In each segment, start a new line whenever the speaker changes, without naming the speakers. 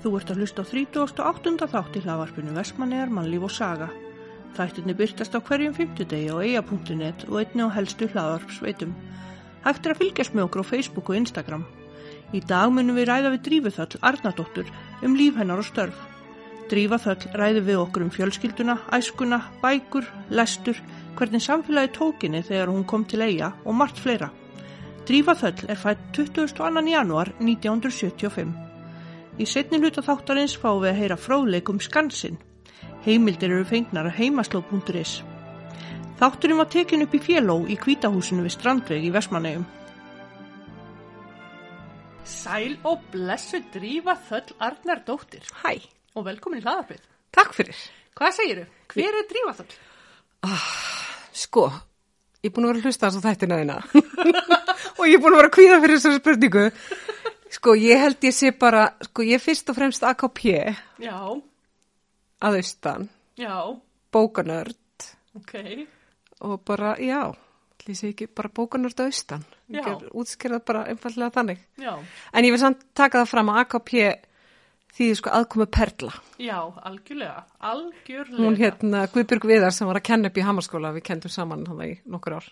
Þú ert að hlusta á 38. þátt í hlaðvarpinu Vestmannegar, Mannlíf og Saga. Þættinni byrtast á hverjum fymtudegi á eia.net og einni á helstu hlaðvarpsveitum. Hægt er að fylgjast með okkur á Facebook og Instagram. Í dag munum við ræða við Drífuþöll Arnadóttur um líf hennar og störf. Drífaþöll ræði við okkur um fjölskylduna, æskuna, bækur, lestur, hvernig samfélagi tókinni þegar hún kom til eiga og margt fleira. Drífaþöll er fætt 22. januar 1975. Í setni hluta þáttarins fáum við að heyra fróðleikum skansinn. Heimildir eru fengnar að heimasló.is. Þátturinn var tekin upp í fjöló í kvítahúsinu við Strandveg í Vestmannegjum. Sæl og blessu drífa þöll Arnar Dóttir
Hæ,
og velkomin í hlaðarpið.
takk fyrir.
Hvað segiru? Hver er drífa þöll?
Sko, ég er búin að vera að hlusta þess að þættina þina og ég er búin að vera að kvíða fyrir þessari spurningu. Sko, ég held ég sé bara, sko, ég er fyrst og fremst AKP
Já,
að austan,
já,
bókanörd
ok,
og bara, já, lýsi ekki bara bókanörd að austan.
Já.
Ég er útskerðað bara einfallega þannig.
já,
En ég vil samt taka það fram að AKP því sko aðkomu Perla.
já, algjörlega, algjörlega.
Hún hérna Guðbjörg Viðar sem var að kenna upp í Hammarskóla, við kendum saman hann í nokkur ár.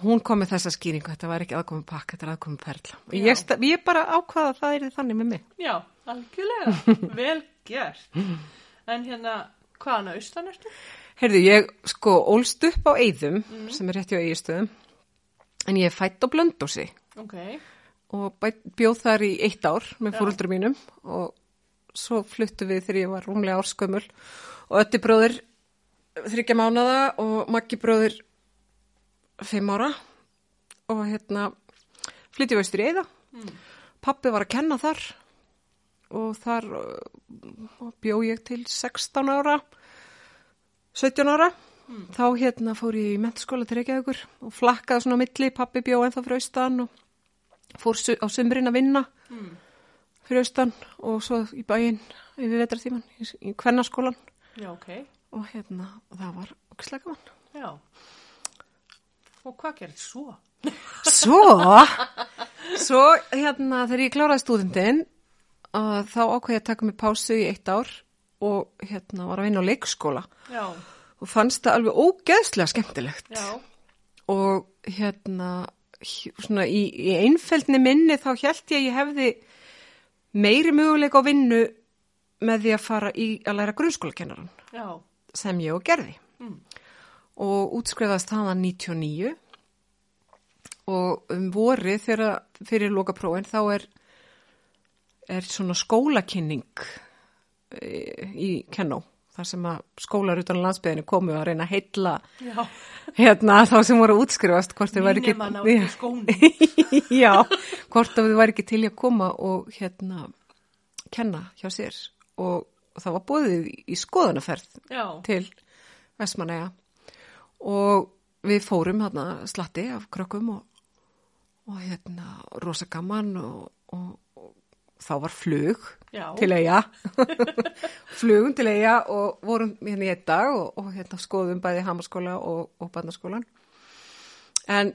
Hún kom með þessa skýringu, þetta var ekki aðkomum pakk, þetta er aðkomum perla. Og
Já.
ég, sta- ég bara ákvaða að það er þannig með mig.
Já, algjörlega, vel gert. En hérna, hvaðan austan ertu?
Heyrðu, ég sko ólst upp á Eyðum, sem er rétt hjá Eyðstöðum, en ég er fætt á Blöndósi
Ok,
og bæ- bjóð þar í eitt ár með fóröldrum mínum og svo fluttu við þegar ég var rúmlega árskömmul og ötti bróðir þryggja mánada og Maggi bróðir fimm ára og hérna flytti við austur í eða pappi var að kenna þar og þar uh, bjó ég til 16 ára 17 ára þá hérna fór ég í mentaskóla til Reykjavíkur og flakkaði svona á milli, pappi bjó ennþá frá austan og fór su á sömurinn að vinna fyrir austan og svo í bæinn yfir vetratíman í, í kvennaskólan
já, ok.
og hérna það var okkislega gaman.
Já. Og hvað gerði svo?
Svo, svo hérna þegar ég kláraði stúdendin uh, þá ákveði ég að taka mig pásu í eitt ár og hérna var að vinna á leikskóla
Já,
og fannst það alveg ógeðslega skemmtilegt
já,
og hérna hj- svona í, í einfeldni minni þá held ég að ég hefði meiri möguleika á vinnu með því að fara í að læra grunnskólakennaran
já,
sem ég og gerði
Mm.
og útskrifaðist þaðan 99 og um vori þegar fyrir lokaprófin þá er, er svona skólakinning eh, í kennó þar sem að skólar utan á landsbyðinu komu að reyna að heilla
já.
hérna þá sem voru að útskrifast hvort þau væri
Nýnema ná í
ekki
skónum.
já, hvort að þau væri ekki til í að koma og hérna kenna hjá sér og, og það var búið í skoðanaferð
Já,
til Vestmanæja og við fórum hérna slatti af krökkum og, og hérna rosa gaman og, og, og þá var flug
Já.
til eiga flugum til eiga og vorum hérna í einn dag og, og hérna skoðum bæði hamaskóla og, og barnaskólan en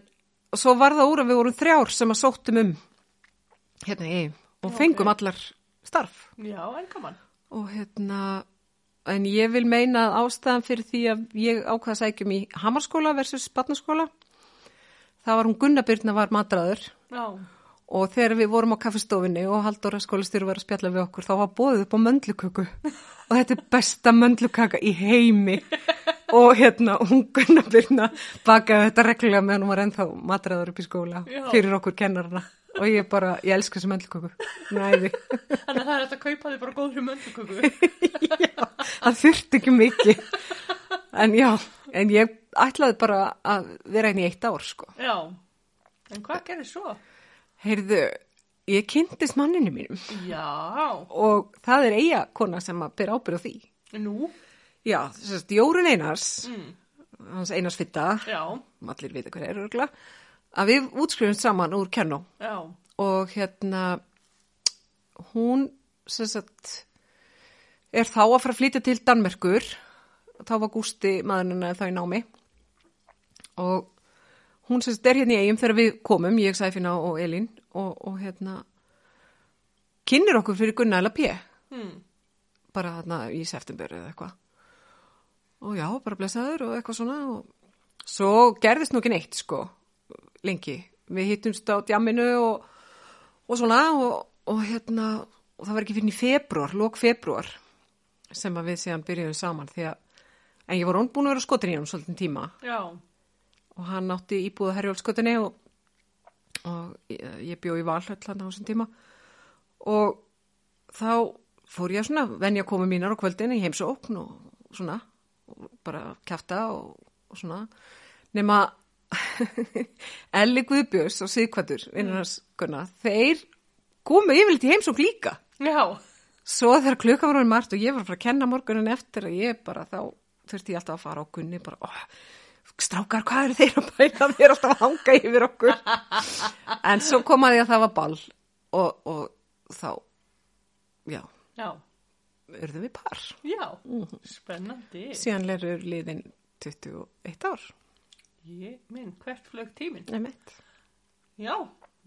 svo var það úr að við vorum þrjár sem að sóttum um hérna í eigum og fengum allar starf
já, en gaman.
og hérna en ég vil meina að ástæðan fyrir því að ég ákvaða sækjum í Hamarskóla versus Batnaskóla það var hún Gunnabyrna var matraður
Já,
og þegar við vorum á kaffestofinni og Halldóra skólastýru var að spjalla við okkur þá var bóðið upp á möndluköku og þetta er besta möndlukaka í heimi og hérna hún Gunnabyrna bakaði þetta reglulega meðan hún var ennþá matraður upp í skóla
Já.
fyrir okkur kennarana og ég bara, ég elska þessi möndluköku næði
þannig að það er þetta að kaupa þig bara góðri mönduköku.
já, það þurfti ekki mikið. En já, en ég ætlaði bara að vera einn í eitt ár, sko.
Já, en hvað gerði svo?
Heyrðu, ég kynntist manninu mínum
Já,
og það er eiga kona sem að byrja ábyrð á því.
nú,
Já, sérst, Jórun Einars, hans Einars Fitta,
já,
allir vita hver er örgla, að við útskrifum saman úr kennum.
já,
og hérna hún sem sagt er þá að fara að flytja til Danmerkur þá var Gústi maðurinn hennar þá í námi og hún sem sagt er hérna í eigum þegar við komum, ég, Sæfina og Elín og, og hérna kynir okkur fyrir Gunnar Lapé
Hmm.
bara þarna í september eða eitthvað og já, bara blessaður og eitthvað svona og svo gerðist nú ekki neitt sko, lengi við hittumst á djamminu og, og svona og, og hérna og það var ekki fyrir í februar, lók februar sem að við séðan byrjuðum saman því að, en ég var hún búin að vera skotin í hún svolítið tíma
Já.
og hann átti íbúð að herjólfskötunni og, og ég, ég bjó í valhöll hann á þessum tíma og þá fór ég svona venja komi mínar á kvöldin í heimsókn og svona og bara kjafta og, og svona nema Elli Guðbjörns og Sigkvættur innan hans gunna, þeir komu yfirleitt í heimsókn líka
Já.
Svo þegar klukka var hann margt og ég var að fara að kenna morgunin eftir að ég bara þá þurfti ég alltaf að fara á gunni bara, ó, strákar, hvað eru þeir að bæna? Þeir eru alltaf að hanga yfir okkur. En svo kom að því að það var ball og, og þá, já,
Já.
urðum við par.
Já. Spennandi.
Síðan lerur liðin 21 ár.
Ég minn, hvert flög tíminn?
Nei, mitt.
Já,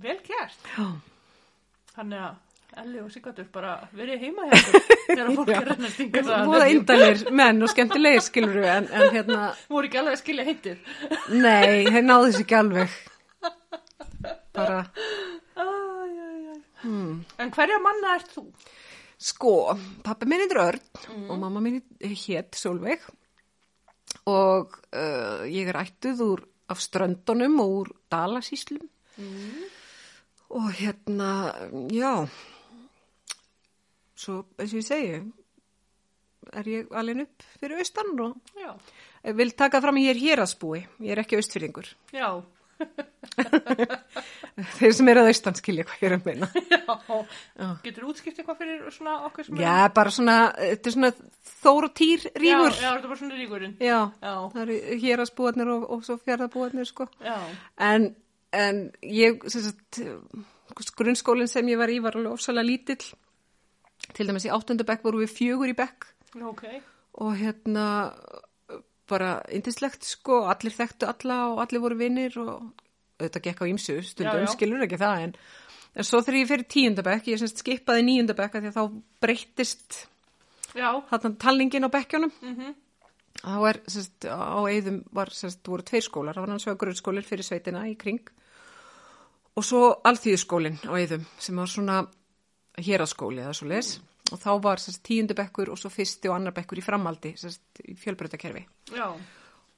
vel gert.
Já.
Þannig að Elli og Sigvartur bara verið heima hjá þér þegar fólk er reyna að stinga það. að
Búða
nefnum.
eindalir menn og skemmtilegir skilur við en, en hérna,
Voru ekki alveg að skilja heitið.
nei, þeir náðu þessi ekki alveg. Bara...
Æj, æj, æj. En hverja manna ert þú?
Sko, pappi minn heitir Örn og mamma minn hétt Solveig og uh, ég er ættuð úr af ströndunum og úr Dalasíslum Mm. og hérna, já, svo eins og ég segi, er ég alveg upp fyrir austan og
Já.
ég vil taka fram að ég er hérasbúi, ég er ekki austfyrringur,
Já.
þeir sem eru að austan skilja hvað ég er að meina.
Já. Getur útskipt eitthvað fyrir svona okkur sem er-
Já, bara svona, þetta er svona þóra týr rífur.
Já, já, þetta er bara svona ríkurinn.
Já,
Já.
það eru hérasbúarnir og, og svo fjárðabúarnir sko.
Já.
En, en ég, sem sagt, eh, grunnskólinn sem ég var í var alveg ofsalega lítill. Til dæmis í áttundu bekk voru við fjögur í bekk
Ok.
og hérna eh, bara indislegt sko, allir þekktu alla og allir voru vinnir og þetta gekk á ýmsu stundum,
Já, já.
skilur ekki það en, en svo þegar ég fyrir tíunda bekk, ég sem sagt skipaði níunda bekk af því að þá breyttist
Já.
þarna talningin á bekkjónum þá er, sérst, á eigðum var, sérst, voru tveir skólar, það var annars vegar grunnskólinn fyrir sveitina í kring og svo alþýðskólinn á eigðum sem var svona héraskóli eða svo les og þá var sérst, tíundu bekkur og svo fyrsti og annar bekkur í framhaldi sérst, í fjölbreytakerfi
Já.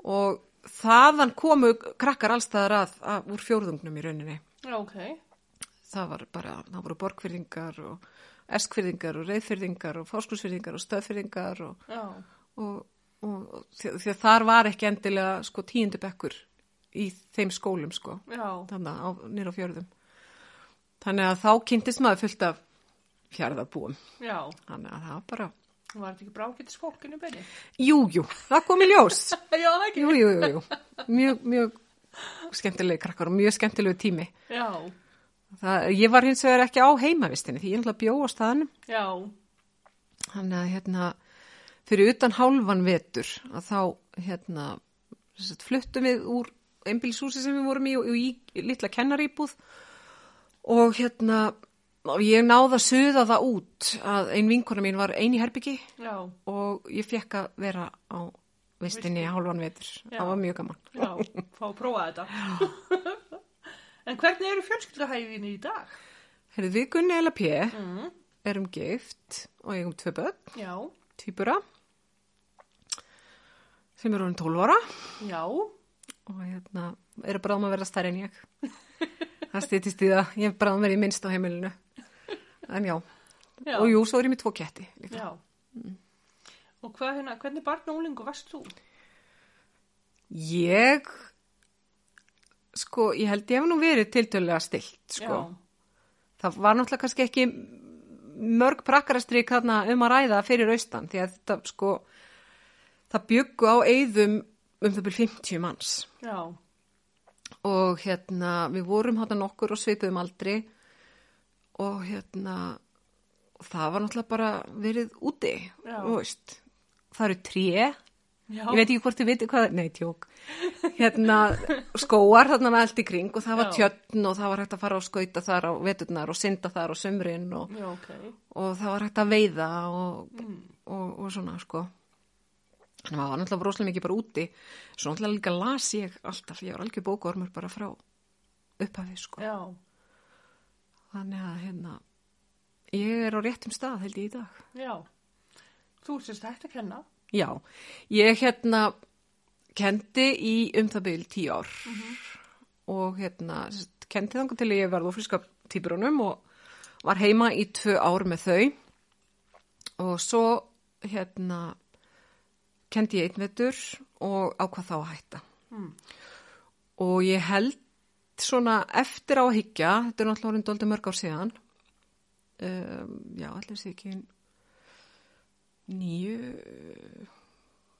og þaðan komu krakkar allstæðar að, að úr fjórðungnum í rauninni
Já, ok.
það var bara, það voru borgfyrðingar og eskfyrðingar og reyðfyrðingar og fáskursfyrðingar og stöðfyrðingar og
Já.
og, og og því, því að þar var ekki endilega sko tíundu bekkur í þeim skólum sko
Já.
þannig á, nýr á fjörðum þannig að þá kynntist maður fullt af fjörðabúum
Já.
þannig að það var bara
Var þetta ekki brákitis fólkinu benni?
jújú, jú, það kom í ljós
Já, það ekki.
jújú, jú, jú, jú. mjög, mjög skemmtilegi krakkar og mjög skemmtilegu tími
Já.
það, ég var hins vegar ekki á heimavistinni því ég ætla að bjó á staðanum
Já.
Þannig að hérna, fyrir utan hálfan vetur að þá hérna, sem sagt, fluttum við úr einbílshúsi sem við vorum í og, og í litla kennaríbúð og hérna, og ég náða að suða það út að ein vinkona mín var ein í herbyggi
Já.
og ég fekk að vera á vistinni hálfan vetur.
Já.
Það var mjög gaman.
Já. Fá að prófa þetta. en hvernig eru fjölskylduhæfinni í dag?
Herðu við Gunni L.A.P.
Mm.
erum gift og eigum tvö börn,
Já.
týpura, sem eru hún 12 ára.
Já.
og hérna, eru bráðum að vera stærri en ég. Það stýttist í það, ég er bráðum verið minnst á heimilinu. En já,
Já.
og jú, svo er ég með tvo ketti líka.
Já. Mm. Og hvað hérna, hvernig barn og úlingu varst þú?
Ég, sko, ég held ég hef nú verið tiltölulega stilt, sko. Það var náttúrulega kannski ekki mörg prakkarastrik þarna um að ræða fyrir austan, því að þetta, sko, það byggu á eyðum um það byrjum 50 manns.
Já. Já.
og hérna við vorum hátta nokkur og svipuðum aldri og hérna og það var náttúrulega bara verið úti
Já.
þú veist, það eru tré
Já.
Ég veit ekki hvort þið viti hvað, nei, tjók. Hérna skóar þarna með allt í kring og það var
Já.
tjötn og það var hægt að fara og skauta þar á veturnar og synda þar á sömrin og,
Já, ok.
og það var hægt að veiða og, og, og svona, sko. Þannig að það var náttúrulega broslega mikið bara úti. Svo náttúrulega líka las ég alltaf, ég var algjör bókormur bara frá upphafi, sko.
Já.
Þannig að, hérna, ég er á réttum stað, held ég í dag.
Já. Þú sést þetta að kenna.
Já, ég hérna kendi í um það byrjum tíu ár og hérna sem sagt, kendi þangar til að ég verð ofríska tíbrunum og var heima í tvö ár með þau og svo hérna kendi ég einn vetur og ákvað þá að hætta. Og ég held svona eftir á að higgja, þetta er náttúrulega orðin dóldi mörg ár síðan, um, já, allir sé ekki nýju,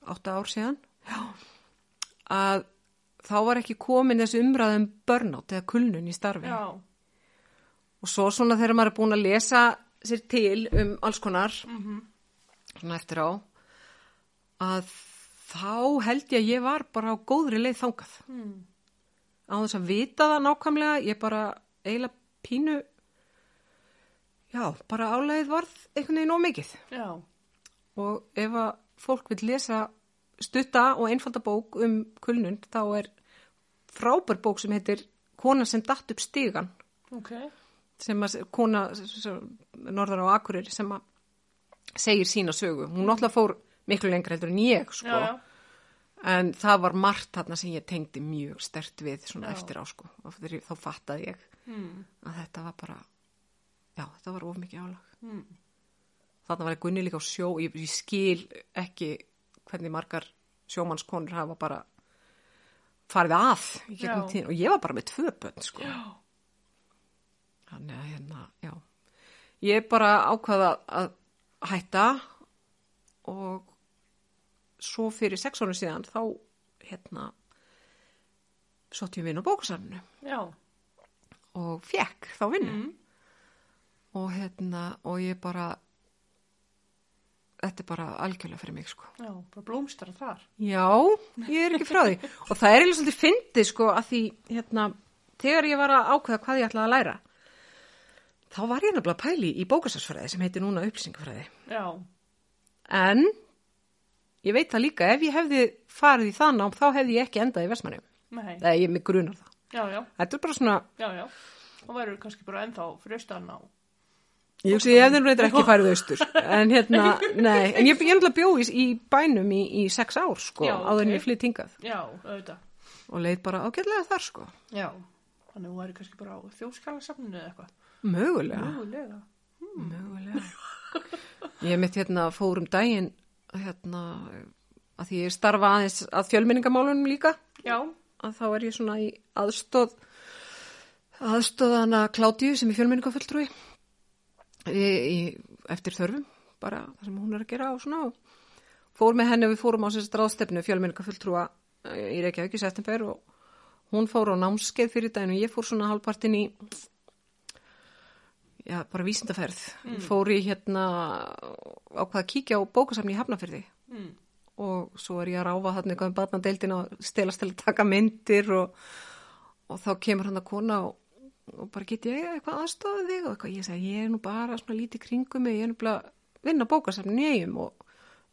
átta ár síðan, já, að þá var ekki komin þessi umræðum börnátt eða kulnun í starfi.
Já.
Og svo svona þegar maður er búin að lesa sér til um alls konar, svona eftir á, að þá held ég að ég var bara á góðri leið þangað.
Mm.
Á þess að vita það nákvæmlega, ég bara eiginlega pínu, já, bara álegið varð einhvern veginn of mikið.
Já.
Og ef að fólk vil lesa stutta og einfalda bók um kulnun, þá er frábær bók sem heitir Kona sem datt upp stígan,
Ok.
sem að kona s- s- norðar á Akureyri sem að segir sína sögu. Hún náttúrulega fór miklu lengra heldur en ég, sko.
Já, já.
En það var margt þarna sem ég tengdi mjög stert við svona
Já.
eftir á, sko. Og þegar ég- Þá fattaði ég
Mm.
að þetta var bara, já, þetta var of mikið álag.
Mm.
þarna var ég gunni líka á sjó ég, ég skil ekki hvernig margar sjómannskonur hafa bara farið að í gegnum
Já.
tíðin og ég var bara með tvö bönn sko.
Já.
þannig að hérna, já ég bara ákvaða að hætta og svo fyrir sex honum síðan þá hérna sótt ég vinn á bókasafninu
Já.
og fekk þá vinnu og hérna og ég bara þetta er bara algjörlega fyrir mig sko
Já. Bara blómstara þar.
já, ég er ekki frá því og það er eiginlega svolítið fyndið sko að því hérna, þegar ég var að ákveða hvað ég ætlaði að læra þá var ég nefnilega að pæli í bókasarsfræði sem heitir núna upplýsingafræði
Já.
en ég veit það líka ef ég hefði farið í það nám þá hefði ég ekki endað í versmanni
Nei.
eða ég mig grunar það
Já, já.
þetta er bara svona
Já, já. Og verður kannski bara ennþá fröstan á.
Ég hugsi, ég hefði nú reyndar ekki farið austur, Sko. en hérna, nei, en ég byrja náttúrulega bjóð í, í bænum í, í sex ár, sko,
Já,
áður en
ok.
ég flytt hingað
Já, auðvitað.
og leið bara ágætlega þar, sko,
Já. Þannig að þú væri kannski bara á þjóðskjálasafninu eða eitthvað.
mögulega,
Mögulega.
mögulega. Ég mitt hérna fórum daginn, hérna, að því ég starfa aðeins að fjölminningamálunum líka,
Já.
að þá er ég svona í aðstóð aðstóðana Kládíu sem er fjölmenningafulltrúi í, í, eftir þörfum bara það sem hún er að gera og svona og fór með henni og við fórum á sér stráðstefnu fjölmenningafulltrúa eh, í Reykjavík í september og hún fór á námskeið fyrir daginn og ég fór svona halvpartin í já, bara vísindaferð fór ég hérna ákvað að kíkja á bókasafni í Hafnafyrði
Mm.
og svo er ég að ráfa þarna eitthvað um barnadeildin og stelast til að taka myndir og, og þá kemur hann að kona og, og bara get ég eitthvað aðstofið þig og eitthvað, ég segi ég er nú bara svona lítið kringum mig, ég er nú bara að vinna bókasafnin í eigum og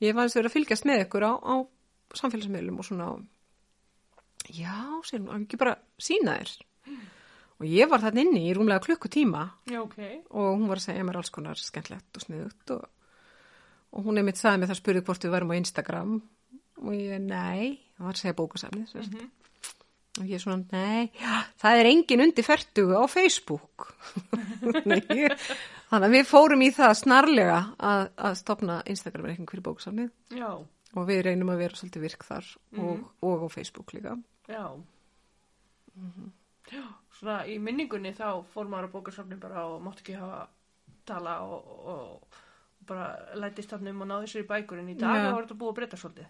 ég var eins og verið að fylgjast með ykkur á, á samfélagsmiðlum og svona já, segir hún, "á ekki bara sína þér og ég var þarna inni í rúmlega klukkutíma
Já, ok.
og hún var að segja mér alls konar skemmtlegt og sniðugt og, og hún einmitt sagði mér það spurði hvort við varum á Instagram og ég, nei, hún var að segja bókasafni mm
Mhm.
og ég svona, nei, já, það er engin undir fertugu á Facebook Nei, ég- þannig að við fórum í það snarlega að, að stopna Instagram reikning fyrir bókasafnið
Já.
og við reynum að vera svolítið virk þar
Mhm.
og, og á Facebook líka
Já. Mhm. Já. Svona í minningunni þá fór maður að bóka safnin bara og mátt ekki hafa tala og, og, og bara lætist þarna um að náði sér í bækur en í dag
Já.
var þetta búið að breyta svolítið.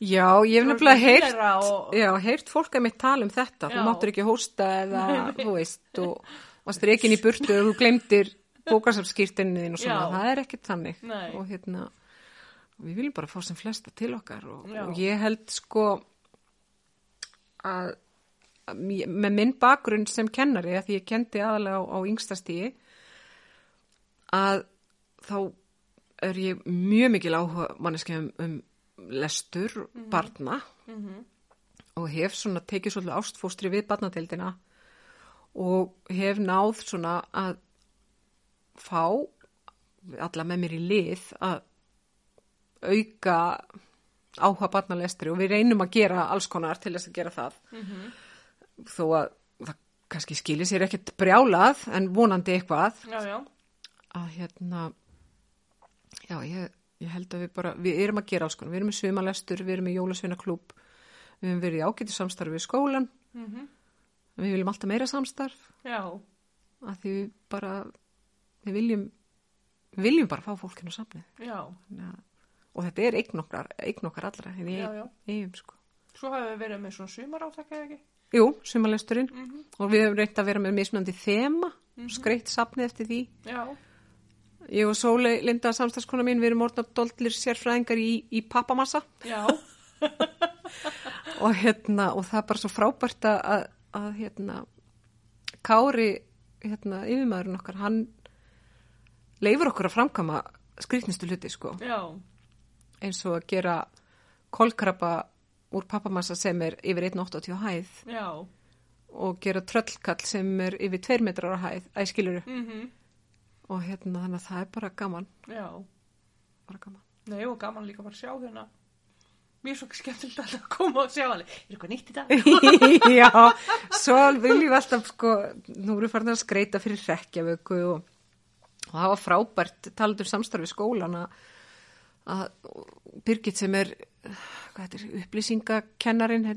Já, ég
Þú
hef
ert
nefnilega
að
heyrt,
hýra og-
já, heyrt fólk að mitt tala um þetta,
Já.
þú máttur ekki hósta eða, þú veist, og, og strekin í burtu og þú glemdir bókarsafskýrtinni þín og svona,
Já.
það er ekkert þannig
Nei.
og hérna, við viljum bara fá sem flesta til okkar og,
Já.
og ég held sko að, að mér- með minn bakgrunn sem kennari að því ég kendi aðalega á, á yngsta stíi að þá er ég mjög mikil áhuga manneskja um, um lestur barna og hef svona tekið svolítið ástfóstri við barnadeildina og hef náð svona að fá alla með mér í lið að auka áhuga barnalestri og við reynum að gera alls konar til þess að gera það þó að það kannski skilir sér ekkert brjálað en vonandi eitthvað
Já, já.
að hérna já, ég, ég held að við bara við erum að gera alls konar, við erum með svimalestur við erum með jólasveinaklúb við erum verið í ágæti samstarfi við skólan en við viljum alltaf meira samstarf
Já,
að því við bara við viljum viljum bara fá fólkinu samnið
já.
Þannig að- og þetta er eign okkar, eign okkar allra hérna í
Já, já.
eigum sko
Svo hafum við verið með svona sumarátak eða ekki?
Jú, sumalesturinn
Mhm.
og við hefum reynt að vera með mismunandi þema skreitt safnið eftir því
Já.
Ég og Sólei, Linda, samstagskona mín, við erum orðnar doldlir sérfræðingar í, í pappamassa
Já.
og, hérna, og það er bara svo frábært að, að- að hérna, Kári, hérna, yfirmaðurinn okkar, hann leifur okkur að framkama skrýtnistu hluti, sko,
já.
eins og að gera kolkrabba úr pappamassa sem er yfir 1,80 á hæð
Já.
og gera tröllkall sem er yfir 2 metrar á hæð, æskiluru,
Mm
og hérna, þannig að það er bara gaman,
Já.
bara gaman.
Nei, og gaman líka bara að sjá hérna. Mér er svo skemmtilegt alltaf að koma og sjá alveg. Er eitthvað nýtt í dag?
Já, svo viljum við alltaf sko, nú erum við farin að skreita fyrir rekkjavöku og, og það var frábært, talað um samstarfi skólan að að Birgit sem er hvað þetta er, upplýsingakennarinn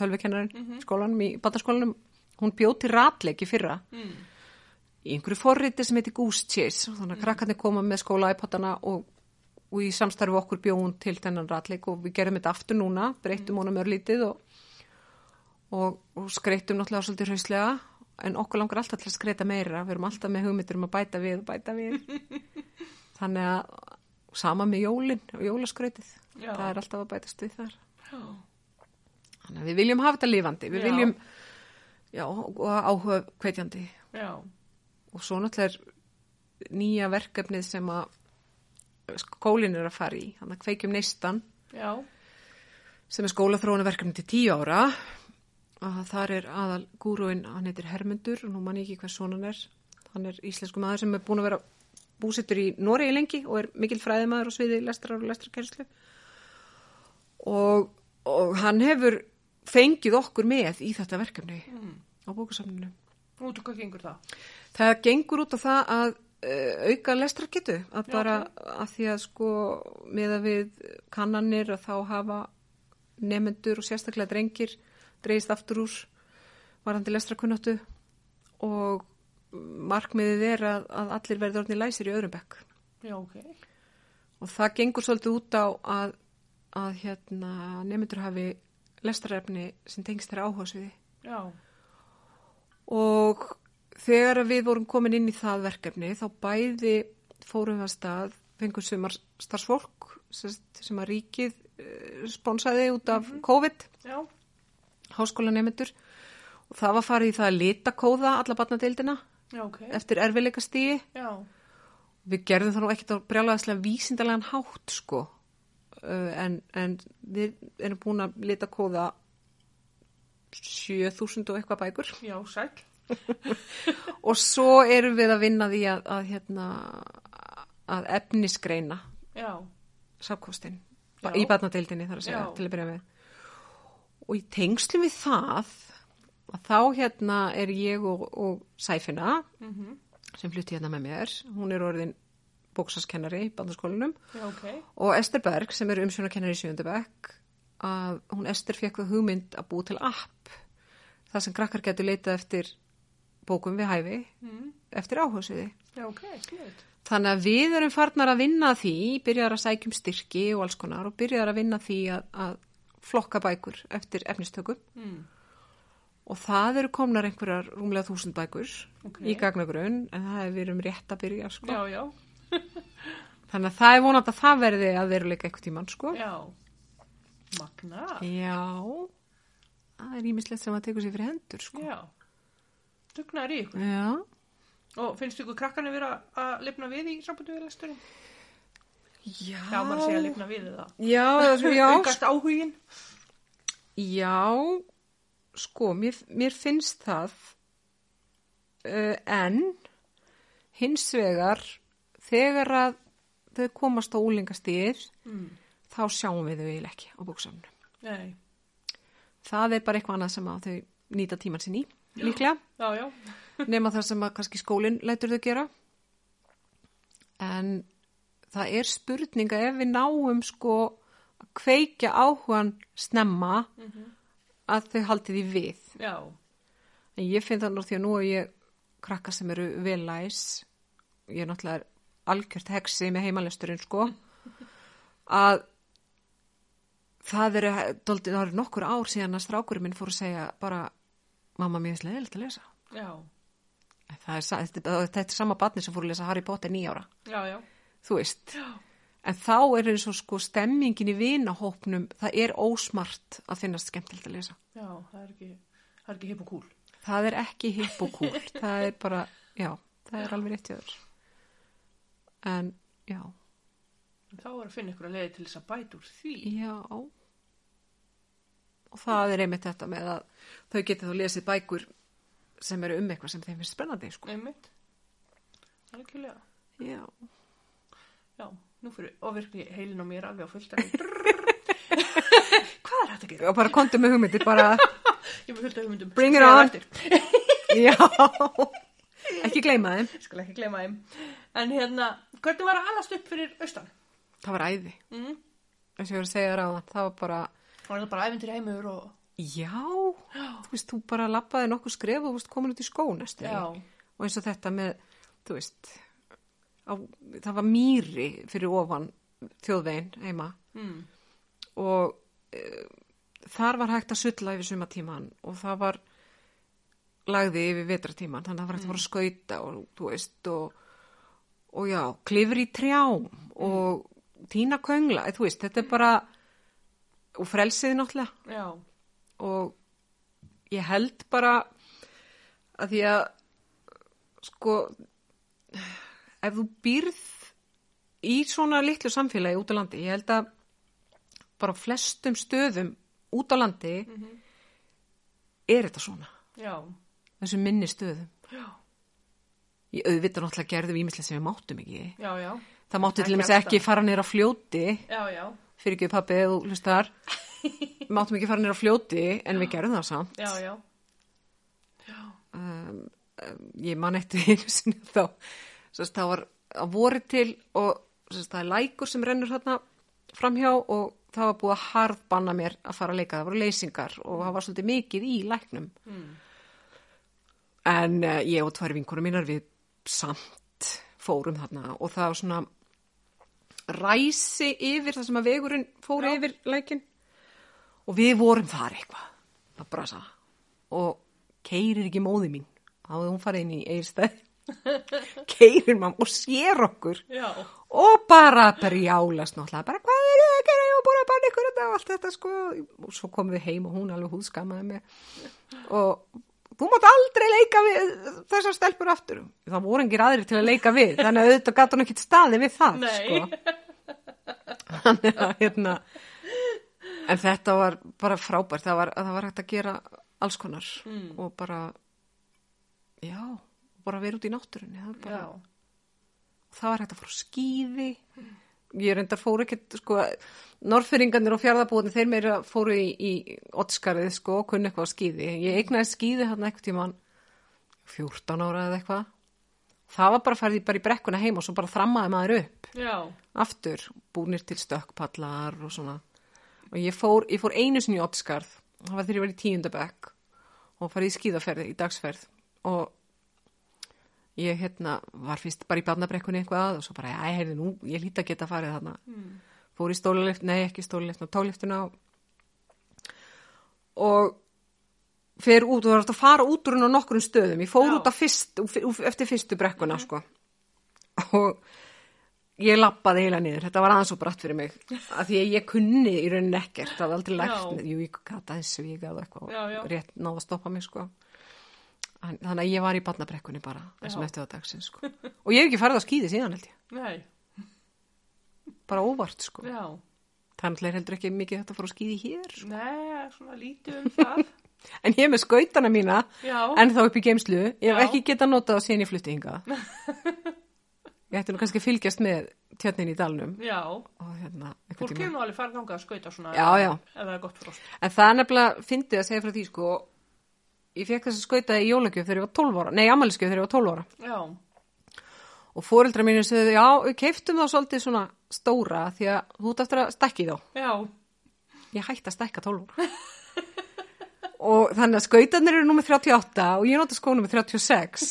tölvikennarinn skólanum í bataskólanum, hún bjóð til ratleiki fyrra
Mm.
í einhverju forriti sem heitir Goose Chase og þannig
Mhm.
að krakkarnir koma með skóla iPodana og, og í samstarfi okkur bjóðum til þennan ratleik og við gerum þetta aftur núna
Mhm.
breytum honum örlítið og, og, og skreittum náttúrulega svolítið hrauslega en okkur langar alltaf til að skreita meira við erum alltaf með hugmyndir um að bæta við og bæta við þannig að sama með jólin og jólaskreitið
Já.
það er alltaf að bætast við þar
Já.
þannig að við viljum hafa þetta lifandi við
Já.
viljum já, og áhuga hvetjandi
Já.
og svo náttúrulega er nýja verkefnið sem að skólinn er að fara í, þannig að kveikjum neistan
Já.
sem er skólaþróuna til tíu ára að þar er aðal gúruinn, hann heitir Hermundur og nú man ég ekki hvers svona hann er hann er íslensku maður sem er búin að vera búsettur í Noregi lengi og er mikil fræðimaður á sviði lestrar og lestrarkerslu og, og hann hefur fengið okkur með í þetta verkefni á bókusamninu
Út og hvað gengur það?
Það gengur út á það að uh, auka lestrarkitu, að
Já,
bara að því að sko meða við kannanir að þá hafa nefendur og sérstaklega drengir dreist aftur úr varandi lestrarkunnáttu og markmiðið er að, að allir verður orðni læsir í öðrum bekk
Já, ok.
og það gengur svolítið út á að, að hérna, nefendur hafi lestrarefni sem tengst þeirra áhugasviði
Já.
og þegar að við vorum komin inn í það verkefni þá bæði fórum við að stað fengum sumar starfsfólk sem, sagt, sem að ríkið eh, sponsaði út af COVID
Já.
háskólanemendur og það var farið í það að lita kóða alla barnadeildina
Já, ok.
eftir erfiðleikastíi
Já.
við gerðum það nú ekkert á brjálaðislega vísindarlegan hátt sko uh, en, en við erum búin að lita kóða 7000 og eitthvað bækur
Já, sæl.
og svo erum við að vinna því að, að, hérna, að efnisgreina
Já.
safkostin
Já.
í barnadeildinni þar að segja
Já.
til að byrja með og í tengslum við það að þá hérna er ég og, og Sæfina
mhm.
sem flutti hérna með mér hún er orðin bóksaskennari í bandaskólinum
Já, ok.
og Ester Berg sem er umsjónakennari í sjöndabæk að hún Ester fekk það hugmynd að búa til app þar sem krakkar getur leitað eftir bókum við hæfi
Mm.
eftir áhugsiði.
Já, ok. Sniðut.
Þannig að við erum farnar að vinna að því, byrjar að sækjum styrki og alls konar og byrjar að vinna að því að, að flokka bækur eftir efnistökum
Mm.
og það eru komnar einhverjar rúmlega þúsund bækur
Ok.
í gagnagrun en það er við erum rétt að byrja sko.
Já, já.
Þannig að það er vonandi að það verði að veruleika eitthvað tíman, sko.
Já. Magna.
Já, það er ímislegt sem að tekur sér fyrir hendur, sko.
Já. Dugnar í ykkur.
Já,
Og finnst ykkur krakkarnir vera að lifna við í sambundu við lesturinn?
já,
Já, maður sé að lifna við eða.
já, það- já, sko.
Aukast áhugin.
já, sko, mér, mér finnst það, uh, en hins vegar, þegar að þau komast á úlingastíð,
Mm.
þá sjáum við þau eiginlega ekki á bóksamnum.
Nei.
Það er bara eitthvað annað sem að þau nýta tíman sinn í, líklega.
Já, já.
nema það sem að kannski skólinn lætur þau gera en það er spurninga ef við náum sko að kveikja áhugan snemma
Mhm.
að þau haldi því við
Já.
en ég finn það nú því að nú er ég krakka sem eru vel læs ég er náttúrulega algjört heksi með heimalesturinn sko að það eru, dálítið- það eru nokkur ár síðan að strákurinn minn fór að segja bara mamma mér er slegilegt að lesa
Já.
Það er, sa- þetta, er- þetta er sama batni sem fór að lesa Harry Potter nýjára,
Já, já.
þú veist.
Já.
En þá er eins og sko stemmingin í vinahópnum, það er ósmart að finnast skemmtilegt að lesa.
Já, það er ekki, það er ekki hipp og kúl.
Það er ekki hipp og kúl, það er bara, já, það er alveg rétt í öður. En, já,
En Þá er að finna ykkur að leiði til þess að bæta úr því.
já. Og það er einmitt þetta með að þau geti þá lesið bækur sem eru um eitthvað sem þeim finnst spennandi, sko.
Einmitt. Algjörlega.
Já.
Já, nú fyrir ofirkni heilin á mér alveg á fullt af Hvað er þetta að gera?
Og bara kontum með hugmyndir, bara...
Ég er með fullt af hugmyndum.
Bring it
Skrifa
on.
eftir.
Já, ekki gleyma þeim.
Ég skal ekki glema þeim. En hérna, hvernig var að alast upp fyrir austan?
Það var æði,
Mm.
eins og ég var að segja þér á það, það var bara,
Var það bara æfintir heimur og...
já, þú veist, þú bara lappaði nokkuð skref og þú veist komin út í skó næstu. því.
Já.
Og eins og þetta með, þú veist, á, það var mýri fyrir ofan þjóðvegin heima
Mm.
og e, þar var hægt að sulla yfir sumatíman og það var lagði yfir vetratíman, þannig að það var hægt að fara að skauta og þú veist og, og já, klifur í trjám og tína köngla, eða, þú veist, þetta er bara og frelsið náttúrulega
Já.
og ég held bara að því að sko ef þú býrð í svona litlu samfélagi út á landi ég held að bara á flestum stöðum út á landi
Mhm.
er þetta svona
Já.
þessum minni stöðum
Já.
ég auðvitað náttúrulega gerðum ímislega sem við máttum ekki
Já, já.
það máttu
Ekki
til dæmis
alltaf.
ekki fara nýra á fljóti
Já, já.
fyrir ekki pappi eða þú hlustar máttum ekki fara nýra á fljóti en við gerðum það samt
Já, já. Já.
um, um, ég man eftir einu sinni þá sérst, það var að voru til og sérst, það er lækur sem rennur hérna framhjá og það var búið að harðbanna mér að fara að leika, það voru leysingar og það var svolítið mikið í læknum
Mm.
en uh, ég og tvær vinkunum mínar við samt fórum þarna og það var svona ræsi yfir það sem að vegurinn fór
Já.
yfir lækin og við vorum þar eitthvað að brasa og keirir ekki móði mín þá hafði hún farið inn í eigirstæð keirir mamma og sér okkur
Já.
og bara brjálast náttúrulega bara hvað eru það að gera ég var búin að banna ykkur þetta og allt þetta sko og svo komum við heim og hún alveg húðskamaði mig og þú mátt aldrei leika við þessar stelpur aftur það voru engir aðrir til að leika við þannig að auðvitað gat hún ekkit staði við það
Nei.
sko þannig að hérna en þetta var bara frábært það var, það var hægt að gera alls konar
Mm.
og bara já, bara vera út í náttúrunni það er bara
Já.
það var hægt að fara á skýði ég reyndar fóru ekkert sko, norðfyrringarnir og fjárðabúðin þeir meira fóru í, í ottskarið sko, og kunni eitthvað á skýði ég eignaði skýði hann eitthvað tímann 14 ára eða eitthvað það var bara að fara því bara í brekkuna heim og svo bara þrammaði maður upp
Já.
aftur, búnir til stökkpallar og svona og ég fór, ég fór einu sinni í ottskarð það var þegar ég var í tíundabekk og farið í skýðaferði, í dagsferð og ég hérna var fyrst bara í barnabrekkunni eitthvað og svo bara, æ, heyrðu nú, ég líti að geta farið þarna fór í stólulift, nei ekki stólulift og táliftuna og- og fer út og var hægt að fara út úr hún á nokkrum stöðum ég fór
Já.
út af fyrst, úf- úf- eftir fyrstu brekkuna sko og ég lappaði heila niður, þetta var aðeins og bratt fyrir mig af því að ég kunni í rauninni ekkert það var aldrei lært,
Já.
jú ég gata þessu ég gata eitthvað,
Já, já.
og rétt náða að stoppa mig sko En- þannig að ég var í barnabrekkunni bara, þessum
Já.
eftir það dagsins sko. og ég hef ekki farið á skýði síðan held ég
Nei,
bara óvart sko,
já,
þannig að heldur ekki mikið þetta að fara á skýði hér sko.
nei, svona lítið um það,
en ég er með skautana mína
já,
en þá upp í geimslu, ég hef
Já.
ekki getað notað síðan ég flutti hingað ég ætti nú kannski að fylgjast með tjarnin í dalnum
já,
og hérna, einhvern
fólk
tímann.
hefur nú alveg farið þangað að skauta svona,
Já, já.
ef það er gott frost,
En það er nefnilega fyndið að segja frá því sko Ég fekk þess að skauta í jólagjöf þegar ég var 12 ára Nei, ammæliskjöf þegar ég var 12 ára
já,
Og foreldra mínu segðu, já, við keiftum þá svolítið svona stóra Því að þú ert eftir að stekki þá
já,
Ég hætti að stekka 12 ára Og þannig að skautarnir eru númer 38 Og ég nota skó númer 36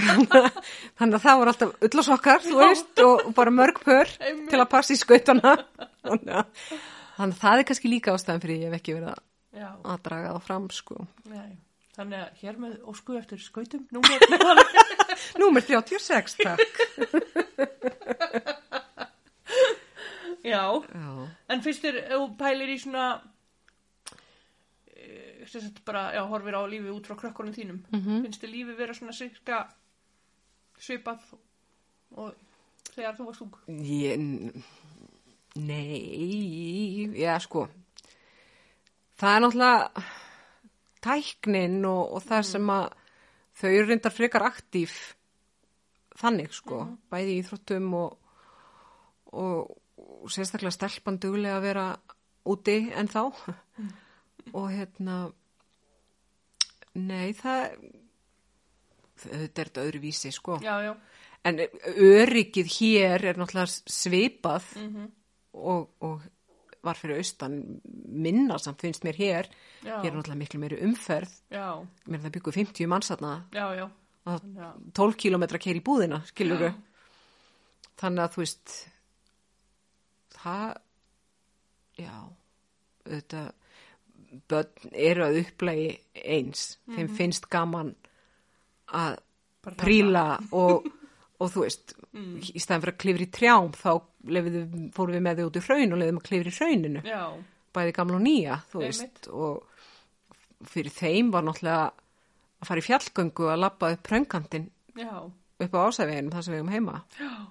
Þannig að það voru alltaf ullasokkar, þú veist Og bara mörg pör
Einmitt.
til að passa í skautana Þannig að þannig að það er kannski líka ástæðan fyrir ég hef ekki verið að-
já,
að draga þá fram sko
nei, þannig að hér með ósku eftir skautum, númer,
Númer 36, takk.
já,
Já.
En finnst þér, ef þú pælir í svona eh, sem sagt bara, já, horfir á lífið út frá krökkunum þínum,
Mhm.
finnst þér lífið vera svona sirka svipað og þegar þú varst ung?
Ég, nei, já sko, það er náttúrulega tæknin og, og það sem að þau eru reyndar frekar aktíf þannig sko, bæði í íþróttum og, og, og sérstaklega stelpan duglega að vera úti en þá Mm. og hérna, nei það, þetta er þetta öðruvísi sko.
Já, já,
En öryggið hér er náttúrulega svipað
Mhm.
og, og var fyrir austan minna samt finnst mér hér.
Já.
Hér er náttúrulega miklu meiri umferð.
já,
Mér er það byggu 50 mannsatna
já, já,
og
já,
12 kílometra keir í búðina, skilur við. Þannig að þú veist, það, já, þetta, börn eru að upplægi eins. Þeim finnst gaman að
Bara Mm.
príla og, og þú veist, í staðan fyrir að klifra í trjám þá lefðu, fórum við með þau út í hraun og lefðum að klifra í hrauninu,
já,
bæði gamla og nýja, þú veist,
Einmitt.
og fyrir þeim var náttúrulega að fara í fjallgöngu að labba upp pröngkantinn
já,
upp á ásæðveginum þar sem við erum heima
já,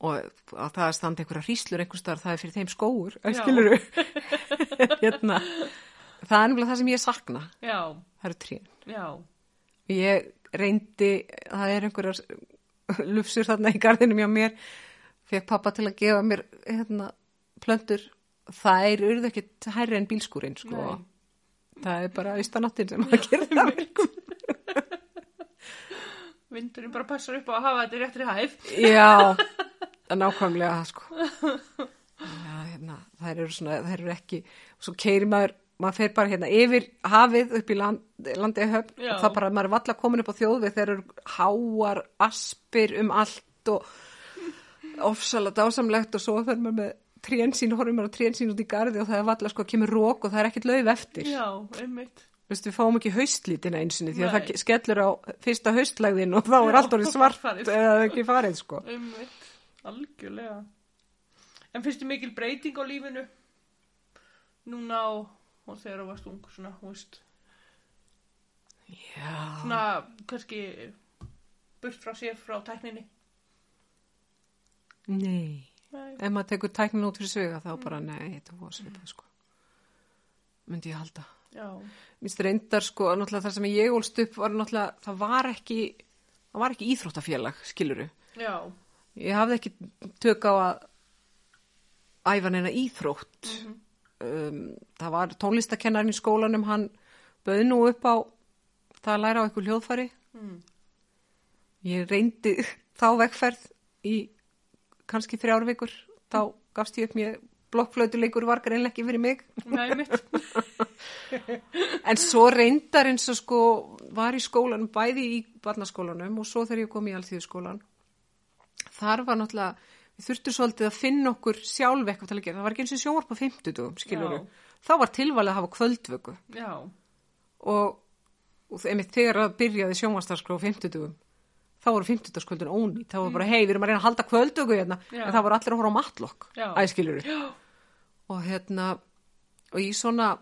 og að það er standa einhverja hríslur einhverstaðar, það er fyrir þeim skóur, skilur hérna, það er nefnilega það sem ég sakna,
já,
það eru trén.
já,
Ég reyndi, það er einhverjar lufsur þarna í garðinum hjá mér, fekk pappa til að gefa mér hérna, plöntur, þær urðu ekkit hærri en bílskúrin, sko.
Nei.
Það er bara austanáttin sem að gera það verkum.
vindurinn bara passar upp á að hafa þetta í réttri hæð.
Já, það er nákvæmlega það, sko. Já, hérna, þær eru svona, þær eru ekki, svo keiri maður, maður fer bara hérna yfir hafið upp í land, landið höfn
Já.
og það bara, maður er valla komin upp á þjóðvið þegar eru háar, aspir um allt og ofsalega dásamlegt og svo fer maður með trén sín, horfum maður á trén sín út í garði og það er valla sko, kemur rók og það er ekkert lauf eftir.
Já, einmitt,
Veistu, við fáum ekki haustlítina einsinni því
Nei.
að það skellur á fyrsta haustlægðin og þá er
Já,
allt orðið svart
farið.
eða ekki farið sko.
einmitt, algjörlega. En finnst þér mikil breyting á lífinu núna og, og þegar þú varst ung, svona, þú veist,
Já.
svona kannski burt frá sér frá tækninni
Nei,
Nei.
ef maður tekur tæknin út fyrir sviga þá bara nei, þetta var svipað sko. Myndi ég halda.
já,
Minnst reyndar sko, náttúrulega það sem ég ólst upp var náttúrulega, það var ekki, það var ekki íþróttafélag, skiluru.
já,
Ég hafði ekki tök á að æfa neina íþrótt. um, það var tónlistakennarinn í skólanum, hann bauð nú upp á það að læra á eitthvað hljóðfæri.
mm,
Ég reyndi þá vegferð í kannski þrjár vikur, þá gafst ég upp mér blokkflötuleikur var greinlega ekki fyrir mig.
nei mitt
En svo reyndar eins og sko var í skólanum, bæði í barnaskólanum og svo þegar ég kom í alþjóðskólan. Þar var náttúrulega, við þurftum svolítið að finna okkur sjálf eitthvað til að gera. Það var ekki eins og sjónvarp á 50 dugum, skilur
Já.
Þá var tilvalið að hafa kvöldvöku
já,
og, og einmitt þegar að byrjaði sjónvarpsdagskrá á 50 dugum. þá voru 50. kvöldin ónýtt, þá voru bara hei, við erum að reyna að halda kvöldöku hérna,
Mm. Já.
en það voru allir að horfa á matlokk,
Já.
æskilur og hérna, og í svona,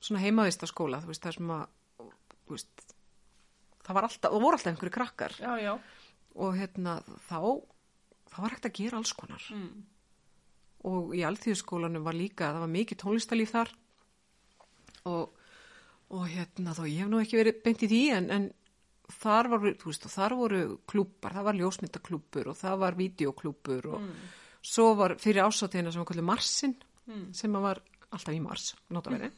svona heimavistaskóla, þú veist, það sem að, þú veist, það var alltaf, það voru alltaf einhverju krakkar
já, já,
og hérna, þá, þá var hægt að gera alls konar
Mm.
og í alþjóðskólanum var líka, það var mikið tónlistalíf þar og, og hérna þá, ég hef nú ekki verið beint í því en, en þar, var, þú veist, og þar voru klúpar, það var ljósmyndaklúpur og það var videoklúpur og svo var fyrir ásatíðina sem var kallið Marsin sem að var alltaf í Mars, notaveri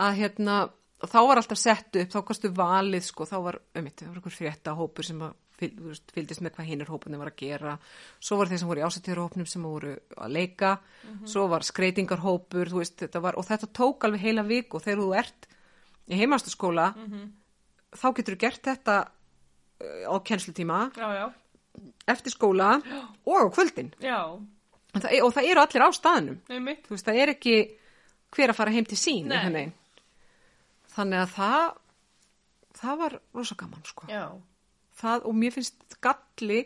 að hérna, og þá var alltaf sett upp, þá kostu valið sko, þá var, um það var einhver frétta hópur sem að fyl- þú veist, fylgdist með hvað hinnir hópunni var að gera svo var þeir sem voru í ásatíðarhópnum sem voru að leika, svo var skreitingarhópur, þú veist, þetta var og þetta tók alveg heila vik og þegar þú ert í heimastaskóla þá getur þú gert þetta uh, á kennslutíma,
já, já,
eftir skóla og á kvöldin
já,
En það, og það eru allir á staðnum
einmitt,
þú veist, það er ekki hver að fara heim til sín
Nei.
einhvern veginn. þannig að það það var rosa gaman sko
já,
það, og mér finnst galli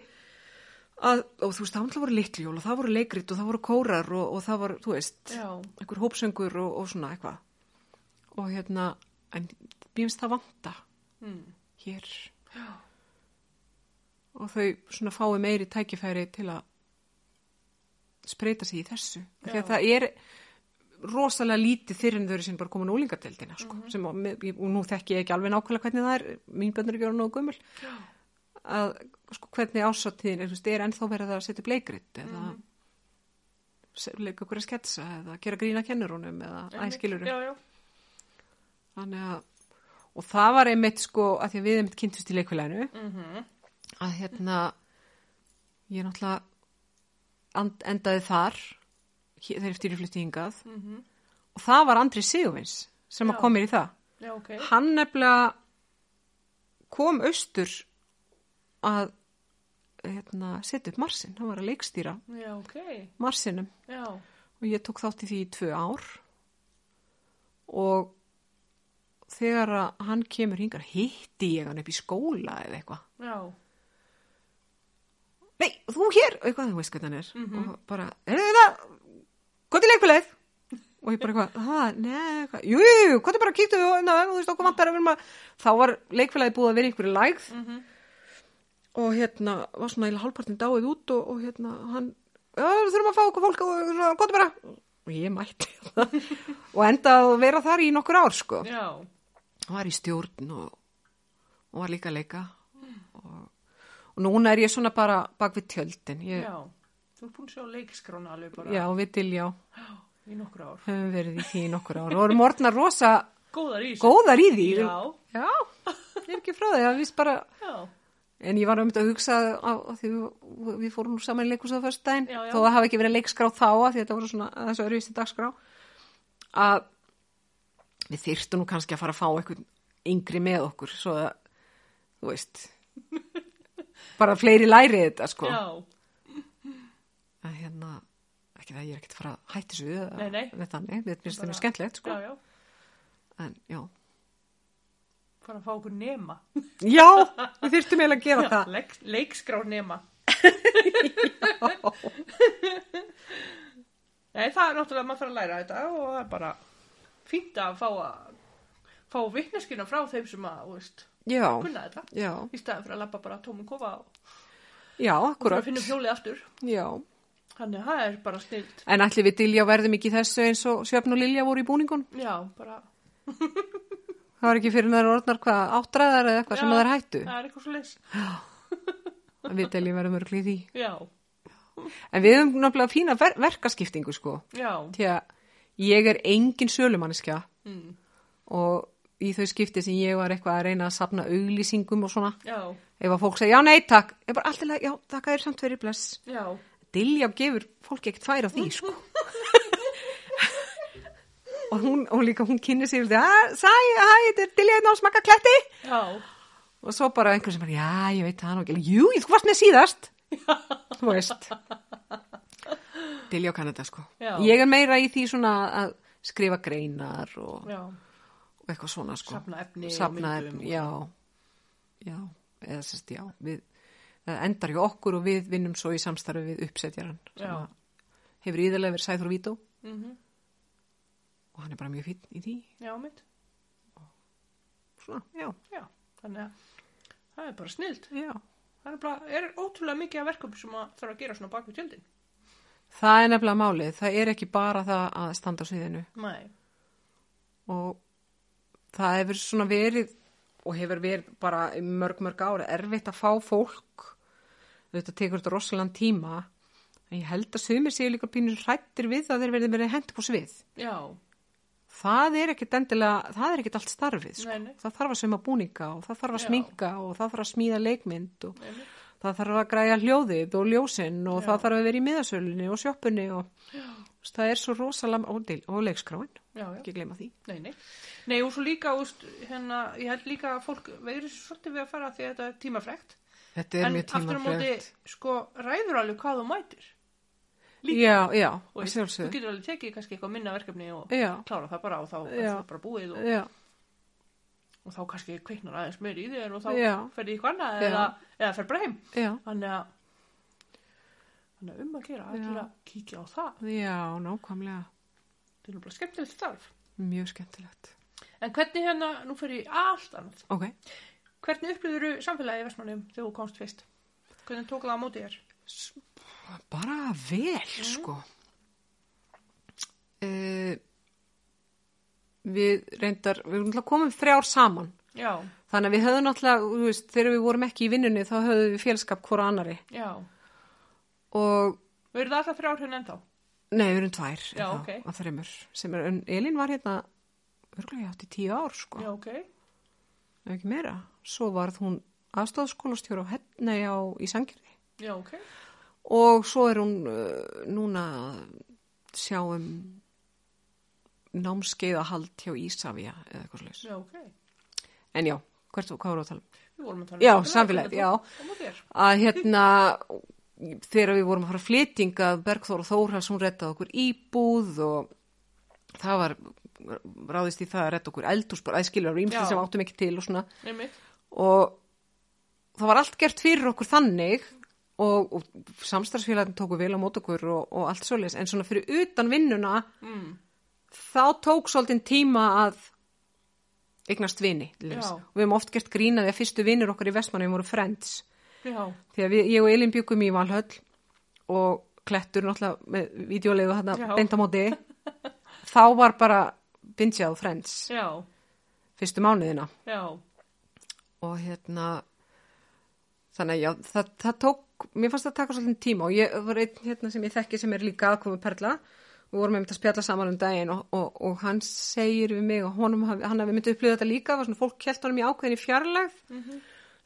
að, og þú veist, það náttúrulega voru litljól og það voru leikrit og það voru kórar og, og það voru, þú veist,
já,
einhver hópsöngur og, og svona eitthvað og hérna, en mér finnst það vanta
mm.
hér og þau svona fái meiri tækifæri til að spreita sig í þessu Af því
Já.
að það er rosalega lítið fyrir en þau eru sinni bara komin úlingadeldina sko,
Mhm.
sem að, með- og nú þekki ég ekki alveg nákvæmlega hvernig það er mín bönnur ekki voru nógu gömul að sko, hvernig ásatíðin er, þú veist, er ennþá verið að setja bleikrit eða
Mhm.
mm -hmm. leika okkur að sketsa eða gera grína kennurunum eða
einmitt,
æskilur
já, já,
þannig að og það var einmitt sko að því að við einmitt kynntust í leikulænu
Mhm.
að hérna ég náttúrulega and, endaði þar hér- þegar eftir ég flutti hingað og það var Andri Sigurvins sem
Mhm. Já.
að kom mér í það
já, ok,
hann nefnilega kom austur að hérna, setja upp Marsin, hann var að leikstýra
já, ok,
Marsinum
já,
og ég tók þátt í því í tvö ár og þegar að hann kemur hingar hitti ég hann upp í skóla eða eitthvað
já,
nei, þú hér, og eitthvað þú veist hvernig hann er og bara, er þetta gott í leikfélagið og ég bara eitthvað, ha, nei, eitthvað jú, jú, jú, hvað er bara að kýttu og na, þú veist okkur vantar að vera maður þá var leikfélagið búið að vera í einhverju lægð og hérna var svona eða hálfpartin dáið út og, og hérna hann, já, við þurfum að fá okkur fólk og svona, hvað er bara og ég mætti og endaði að vera þar í nokkur ár sko
já,
var í stjórn og, og var líka að leika og, og núna er ég svona bara bak við tjöldin ég,
já, þú er búin að sjá leikskrána alveg bara
Já, við diljá
í nokkur ár,
höfum verið í því í nokkur ár og erum orðnar rosa
góðar í þessu,
góðar í því.
Já.
Já, ég er ekki frá því að við bara,
já, en
en ég var um þetta að hugsa að, að því við, við fórum nú saman í leikus á föstudaginn,
Já, já.
þó það hafi ekki verið leikskrá þá að því þetta voru svona að þessu öruvísi dagskrá, að við þyrftum nú kannski að fara að fá eitthvað yngri með okkur, svo að, þú veist, bara fleiri læri þetta, sko.
já,
Að hérna, ekki það, ég er ekkert að fara að hætti þessu, eða
Nei, nei.
neitt þannig, við finnst það
Bara-
nú skemmtilegt, sko.
já, já,
en já
fara að fá okkur nema,
já, við þurftum eiginlega að gera það
Leik, leikskrá nema. Nei, það er náttúrulega að maður þarf að læra þetta og það er bara fínt að fá að fá vitneskina frá þeim sem að, þú veist,
já,
kunna þetta
já,
í staðan fyrir að labba bara tómum kofa og
já,
bara
akkurat
finnum hjólið aftur.
já.
Þannig að það er bara snilt.
en allir við Dilja verðum ekki í þessu eins og Sjöfn og Lilja voru í búningun
Já, bara,
það var ekki fyrir þær orðnar hvað áttræðar eða eitthvað sem
Já.
þær hættu
það er eitthvað svo leys.
við Dilja verðum örgli því
Já,
en við höfum náttúrulega fína ver verkaskiptingu sko
já,
því að ég er engin sölumanniska
mm,
og í þau skipti sem ég var eitthvað að reyna að safna auglýsingum og svona
já,
ef að fólk segja já nei takk ég bara alltaf, já takk að þér samt verið bless
já,
Dilljá gefur fólki ekkert færa því, sko. og hún, og líka hún kynni sér því, að, "Ah, sæ, hæ, þetta er Dilljá hérna á smakka kletti.
já,
Og svo bara einhver sem bara, já, ég veit það nú ekki. alveg. Jú, ég þú varst með síðast. Þú veist. Dilljá kann þetta, sko.
Já.
Ég er meira í því svona að skrifa greinar og,
já,
og eitthvað svona, sko.
Safna efni og
Safna
myndum
efni, já. Já, eða sérst, já, við... eða endar hjá okkur og við vinnum svo í samstarfi við uppsetjaran sem
Já.
að hefur íðarlega verið Sæþór Vító
Mm -hmm.
og hann er bara mjög fýtt í því
Já, mitt.
svona, já,
Já, þannig að það er bara snilt.
já
Það er, bara, er ótrúlega mikið af verkum sem að þarf að gera svona bak við tjöldin.
það er nefnilega málið, það er ekki bara það að standa á sviðinu
Nei.
og það hefur svona verið og hefur verið bara í mörg mörg ára erfitt að fá fólk þetta tekur þetta rosalega tíma en ég held að sumir séu líka pínur hrættir við að þeir verði verið hent upp á svið
Já,
það er ekkit endilega, það er ekkit allt starfið sko.
Nei, nei.
það þarf að suma búninga og það þarf að
Já.
sminka og það þarf að smíða leikmynd og
einmitt.
það þarf að græja hljóðið og ljósinn og það þarf að vera í miðasölunni og sjoppunni og
Já.
það er svo rosalega og, deil- og leikskráin,
Já, já.
ekki gleyma því
Nei, nei. Nei, og svo líka, úst, hérna, ég held líka að fólk veiri svo svolítið við að fara því að þetta er tímafrekt.
Þetta er
en
mjög
aftur á móti,
tímafrekt.
sko, ræður alveg hvað þú mætir.
Já, já,
Og
að
þú
sjálfsögðu.
getur alveg tekið kannski eitthvað minna verkefni og
Já,
klára það bara og þá er
Já.
það bara búið og,
já,
og þá kannski kviknar aðeins meir í þér og þá
Já.
ferði í hvað annað
Já.
eða, eða fer bara heim.
já,
Þannig að, þannig að um að gera, allir að kíkja á það.
já, nákvæmlega.
Þetta er nú bara skemmtilegt starf.
Mjög skemmtilegt.
En hvernig hérna, nú fer ég í allt annað.
Ok,
Hvernig upplýður samfélagið í Vestmannum þegar þú komst fyrst? Hvernig tók það á móti þér?
S- bara vel, sko. Uh, við reyndar, við erum náttúrulega komum þrjár saman.
Já,
Þannig að við höfðum náttúrulega, þú veist, þegar við vorum ekki í vinnunni þá höfðum við félskap hvora annari.
já.
Og,
Við erum það alltaf þrjár hérna ennþá.
nei, við erum tvær.
Já,
þá,
ok.
Að þreymur, sem er, en Elín var hérna, örgulega átti tíu ár, sko.
Já, ok.
ef ekki meira. Svo varð hún aðstofskólastjóra á Hennei á í Sangjörði
Já, ok.
og svo er hún uh, núna að sjá um námskeiðahald hjá Ísafja eða eitthvað slags.
Já, ok.
En já, hvert, hvað voru að tala um?
Við vorum að tala
Já,
samfélagið,
samfélagið,
hvernig
já.
tók Á móti þér.
Að hérna, þegar við vorum að fara að flytinga Bergþóra Þórhals, hún rettaði okkur íbúð og það var ráðist í það að retta okkur eldús bara aðskilur,
Já.
ímsli sem við áttum ekki til og svona.
Einmitt.
og það var allt gert fyrir okkur þannig og, og samstarfsfélagin tóku vel á mót okkur og, og allt svoleiðis en svona fyrir utan vinnuna
Mm.
þá tók svolítið tíma að eignast vini til dæmis.
Já.
og við hefum oft gert grínaði að fyrstu vinnur okkar í Vestmanni voru friends
Já,
því að við, ég og Elin byggum í Valhöll og klettur náttúrulega með videolegu
Já.
þarna beintamóti þá var bara bindjað friends
já,
fyrstu mánuðina
já.
og hérna þannig að já, það, það tók mér fannst það taka svolítið tíma og ég það var einn hérna sem ég þekki sem er líka aðkomu perla og vorum einmitt að spjalla saman um daginn og, og, og hann segir við mig og honum, hafi- hann hafi myndið upplýða þetta líka var svona fólk kjælt honum í ákveðinni fjarlægð mm -hmm.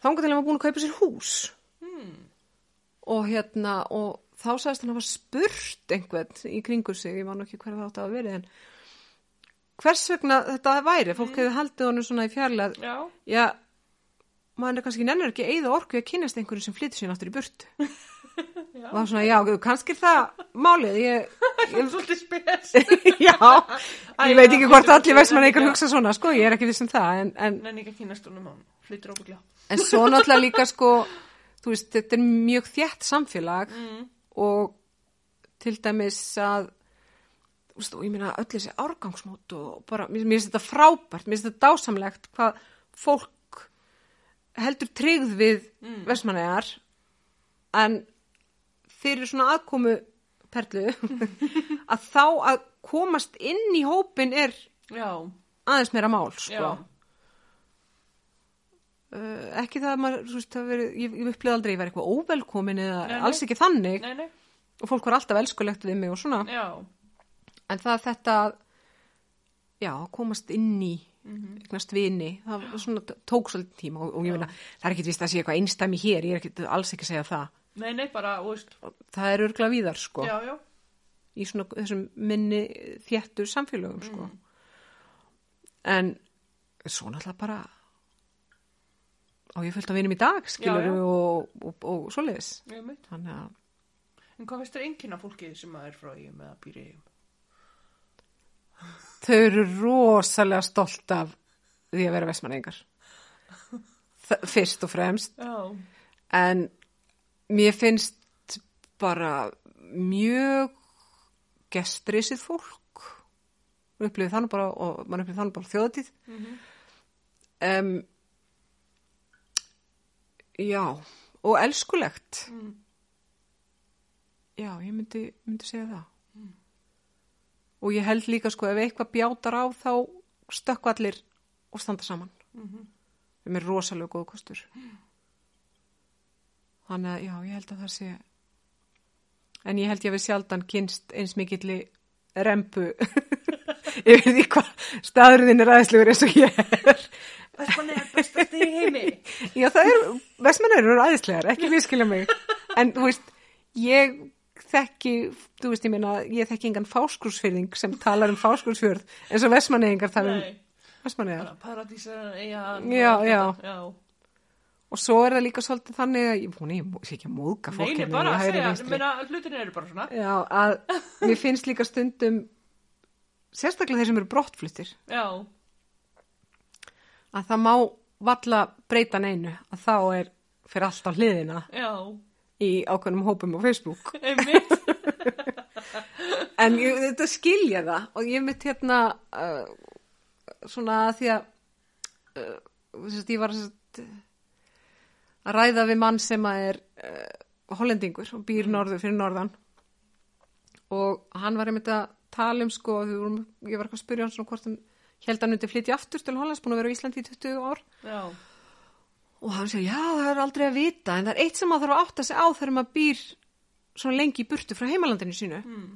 þangar til hann var búin að kaupa sér hús
Hmm.
og hérna og þá sagðist hann að hafa spurt einhvern í kringu sig, ég man nú ekki hver það átti að verið en hvers vegna þetta væri, fólk hefði haldið honum svona í fjarlægð
Já,
Já, maður er kannski nennir ekki eigða orku að kynast einhverju sem flytur sín aftur í burtu.
Já.
Og það var svona, já, kannski er það málið, ég,
ég er svolítið spes.
já,
Æ,
ég veit ekki hvort
já,
allir vestmann
já.
eitthvað hugsa svona, sko, ég er ekki viss um það, en, en,
Nenni ekki að kynast honum án, flyttur óbyggla.
en svo náttúrulega líka, sko, þú veist, þetta er mjög þjætt samfélag
Mm.
og til dæmis að, þú veist, og ég meina öll þessi árgangsmót og bara, mér mér finnst þetta frábært, mér finnst þetta dásamlegt hvað fólk heldur tryggð við mm. vestmannegar en fyrir svona aðkomu perlu að þá að komast inn í hópin er
Já,
aðeins meira mál
já,
sko. uh, ekki það að maður, þú veist, það hafi verið, ég, ég upplýði aldrei að ég var eitthvað óvelkomin eða
Nei, nei.
alls ekki þannig
nei, nei,
og fólk var alltaf elskulegt við mig og svona
já,
en það er þetta að, já, komast inn í
Mhm.
eignast vini, það var svona tók svolítið tíma og, og ég meina, það er ekkit vist að sé eitthvað einstæmi hér, ég er ekkit alls ekki að segja það
nei, nei, bara, þú veist,
það er örgla víðar, sko
já, já,
í svona þessum minni þéttu samfélögum, sko
Mm.
en svo náttúrulega bara og ég fylgta vinum í dag, skilur
já.
og, og, og svoleiðis
ég mitt.
þannig að
En hvað finnst þér enginn af fólkið sem að er frá ég með að býra ég?
þau eru rosalega stolt af því að vera vestmanningar fyrst og fremst
Já,
en Mér finnst bara mjög gestrisið fólk. Mér upplifið þannig bara, og mann upplifið þannig bara á þjóðatíð. Mm já, og elskulegt. Já, ég myndi, myndi segja það. Og ég held líka sko ef eitthvað bjátar á þá stökkva allir og standa saman. Mm -hmm. Þeim er rosalega góð kostur. Þannig að já, ég held að það sé en ég held ég að við sjaldan kynst eins mikilli rempu yfir því hvað staðurðin er aðeinslegur eins og ég er.
Vestmanni er bestast í heimi.
Já, það er, vestmennur eru aðeinslegar, ekki miskilja mig. En, þú veist, ég þekki, þú veist, ég meina, ég þekki engan fáskursfyrðing sem talar um fáskursfjörð, eins og vestmannegingar tala um
Nei.
vestmannegar.
Paradísar, já.
Já, já.
já.
Og svo er það líka svolítið þannig að, ég vona, ég mó- sé ekki að móðga fólk.
Neini,
hérna
bara
í
að
hægri
segja,
vinstri.
meina, hlutin eru bara svona.
Já, að mér finnst líka stundum, sérstaklega þeir sem eru brottfluttir,
Já,
að það má valla breyta neinu, að þá er fyrir allt á hliðina
já,
í ákveðnum hópum á Facebook.
einmitt.
En ég, þetta skilja það og ég mitt hérna uh, svona að því að uh, sérst, ég var sérst, að ræða við mann sem að er uh, hollendingur og býr norður fyrir norðan og hann var einmitt að tala um sko, við vorum, ég var eitthvað að spyrja hann svona hvort hann held að hann myndi flytja aftur til Hollands, búin að vera á Íslandi í 20 ár
Já,
og hann segir, já það er aldrei að vita en það er eitt sem maður þarf að átta sig á þegar maður býr svona lengi í burtu frá heimalandinu sínu
Mm.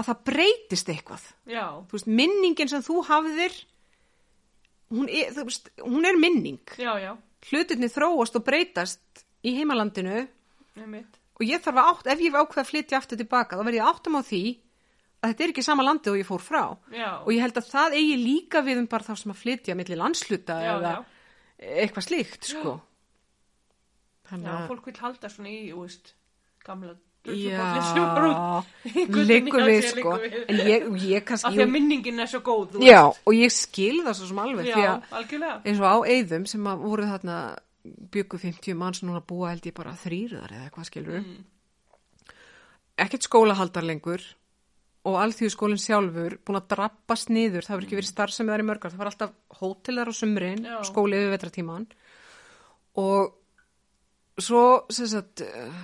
að það breytist eitthvað
já,
þú veist, minningin sem þú hafðir hún er, þú veist, hún er minning
já, já,
hlutinni þróast og breytast í heimalandinu
einmitt.
og ég þarf að átt, ef ég ákveð að flytja aftur tilbaka þá verð ég að átta mig á því að þetta er ekki sama landið og ég fór frá
Já,
og ég held að það eigi líka við um bara þá sem að flytja milli landsluta
Já,
eða
já.
eitthvað slíkt sko.
já,
þannig
fólk vil halda svona í, þú veist, gamla druslupollir sem var út.
Já,
Einhvern
liggur
veginn
við
að sé
sko
liggur við.
en ég, ég kannski
Af því að minningin er svo góð, þú
Já, og ég skil það svo sem alveg
veist.
því
Já,
að
algjörlega.
eins og á eyðum sem að voru þarna byggu 50 manns núna búa held ég bara þrýrðar eða eitthvað skilur
Mm.
ekkert skólahaldar lengur og alþjóðskólinn sjálfur búin að drabbast niður, það hefur ekki verið starfsemi þar í mörgar, það var alltaf hótel þar á sumrin
Mm. Já.
skóli yfir vetratíman og svo sem sagt eh,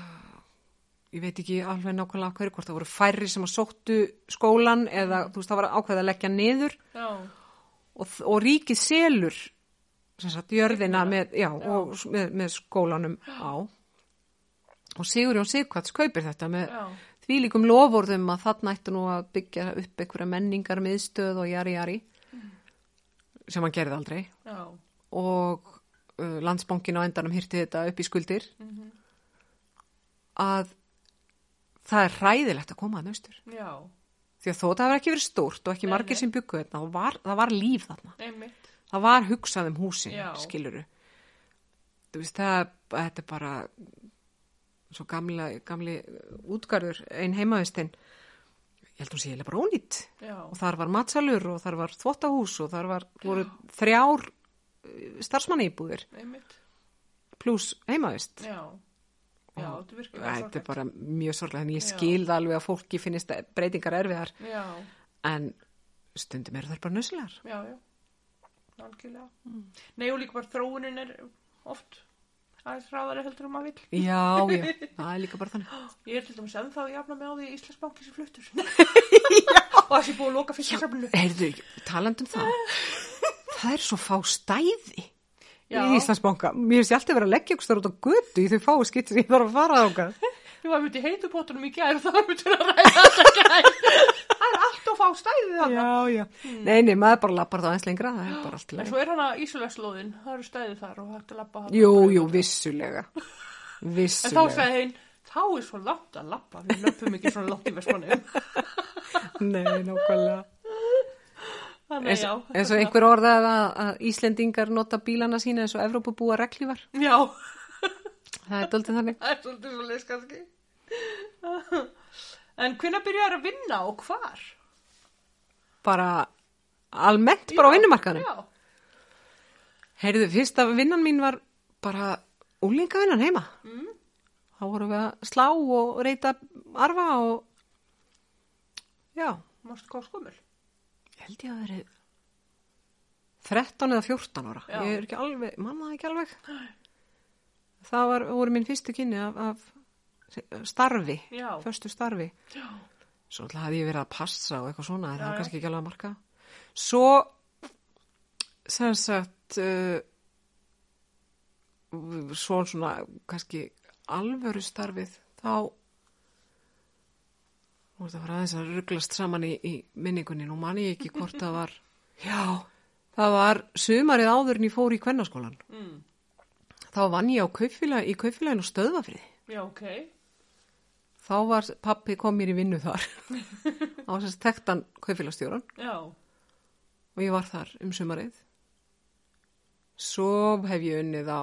ég veit ekki alveg nákvæmlega af hverju hvort það voru færri sem að sóttu skólan eða þú veist það var ákveð að leggja niður
Já,
og, og ríkið selur sem sagt, jörðina með, já, Og, s- með, með skólanum á og Sigurjón Sigvats kaupir þetta með
Já.
því líkum lofórðum að þarna ættu nú að byggja upp einhverja menningar miðstöð og jari jari sem hann gerði aldrei
já,
og uh, landsbankin á endanum hýrti þetta upp í skuldir að það er hræðilegt að koma að naustur
já,
því að þó það hefur ekki verið stórt og ekki margir sem byggu þetta þá var, það var líf þarna
einmitt.
það var hugsað um húsin,
Já.
skiluru þú veist það þetta er bara svo gamla, gamli útgarður ein heimavistinn ég held hún sé eiginlega bara ónýtt
Já,
og þar var matsalur og þar var þvottahús og þar var, voru þrjár starfsmanni íbúðir
einmitt.
pluss heimavist
Já, já,
Og
þetta virkar
þetta er bara mjög sorglega en ég skil það alveg að fólki finnist breytingar erfiðar
Já,
en stundum eru þar bara nöðslegar
já, já, algjörlega. Nei, og líka bara þróunin er oft aðeins ráðari heldur um að vill.
já, já, það er líka bara þannig
Ég er til dæmis ennþá að jafna mig á því að Íslandsbanki sem fluttur. og það sé búið að loka fiskisafninu.
Heyrðu, taland um það Það er svo fá stæði
Já.
í Íslandsbanka Mér sé alltaf verið að leggja ykkur stór út á götu í þau fáu skittir sem ég þarf að fara á
Ég var myndið heitupottunum í gær og það var myndið að ræða þetta gær. Það er allt of á stæðið þarna.
Já, já Hmm. Nei, nei, maður bara lappar það aðeins lengra Það er bara allt í
En
lagi
svo er hana Ísulagslóðin, það eru stæðið þar og hægt að labba hann.
Jú, jú, vissulega
En þá
Vissulega
sagði hinn, þá er svo langt að labba, við löpum ekki svona langt í versmanni.
Nei, nákvæmlega
Þannig
En
já.
svo- en svo einhver orðað að, að Íslendingar nota bílana sína eins og Evrópubúa reglívar
Já,
Það er doldið þannig
það er svolítið svo leys kannski. En hvenær byrjar að vinna og hvar?
Bara almennt bara á vinnumarkaðanum
Já,
Heyrðu, fyrsta vinnan mín var bara úlingavinnan heima. Mm. þá vorum við að slá og reyta arfa og já,
Mást hvað skumul?
ég held ég að verið 13 eða 14 ára
Já.
ég er ekki alveg, manna ekki alveg það var, voru mín fyrstu kynni af, af starfi
Já.
förstu starfi
Já.
svo alltaf hafði ég verið að passa og eitthvað svona
Já,
en það var
já.
kannski ekki alveg að marka svo sem sagt uh, svo svona kannski alvöru starfið þá nú er það var aðeins að rugglast saman í, í minningunni, nú man ég ekki hvort það var já, það var sumarið áður en ég fór í kvennaskólan
Mm.
þá vann ég á kaupfélag, í kaupfélaginu stöðvafrið
Já, ok.
þá var pappi kom mér í vinnu þar á þess tektan kaupfélagstjóran
Já.
og ég var þar um sumarið. Svo hef ég unnið á,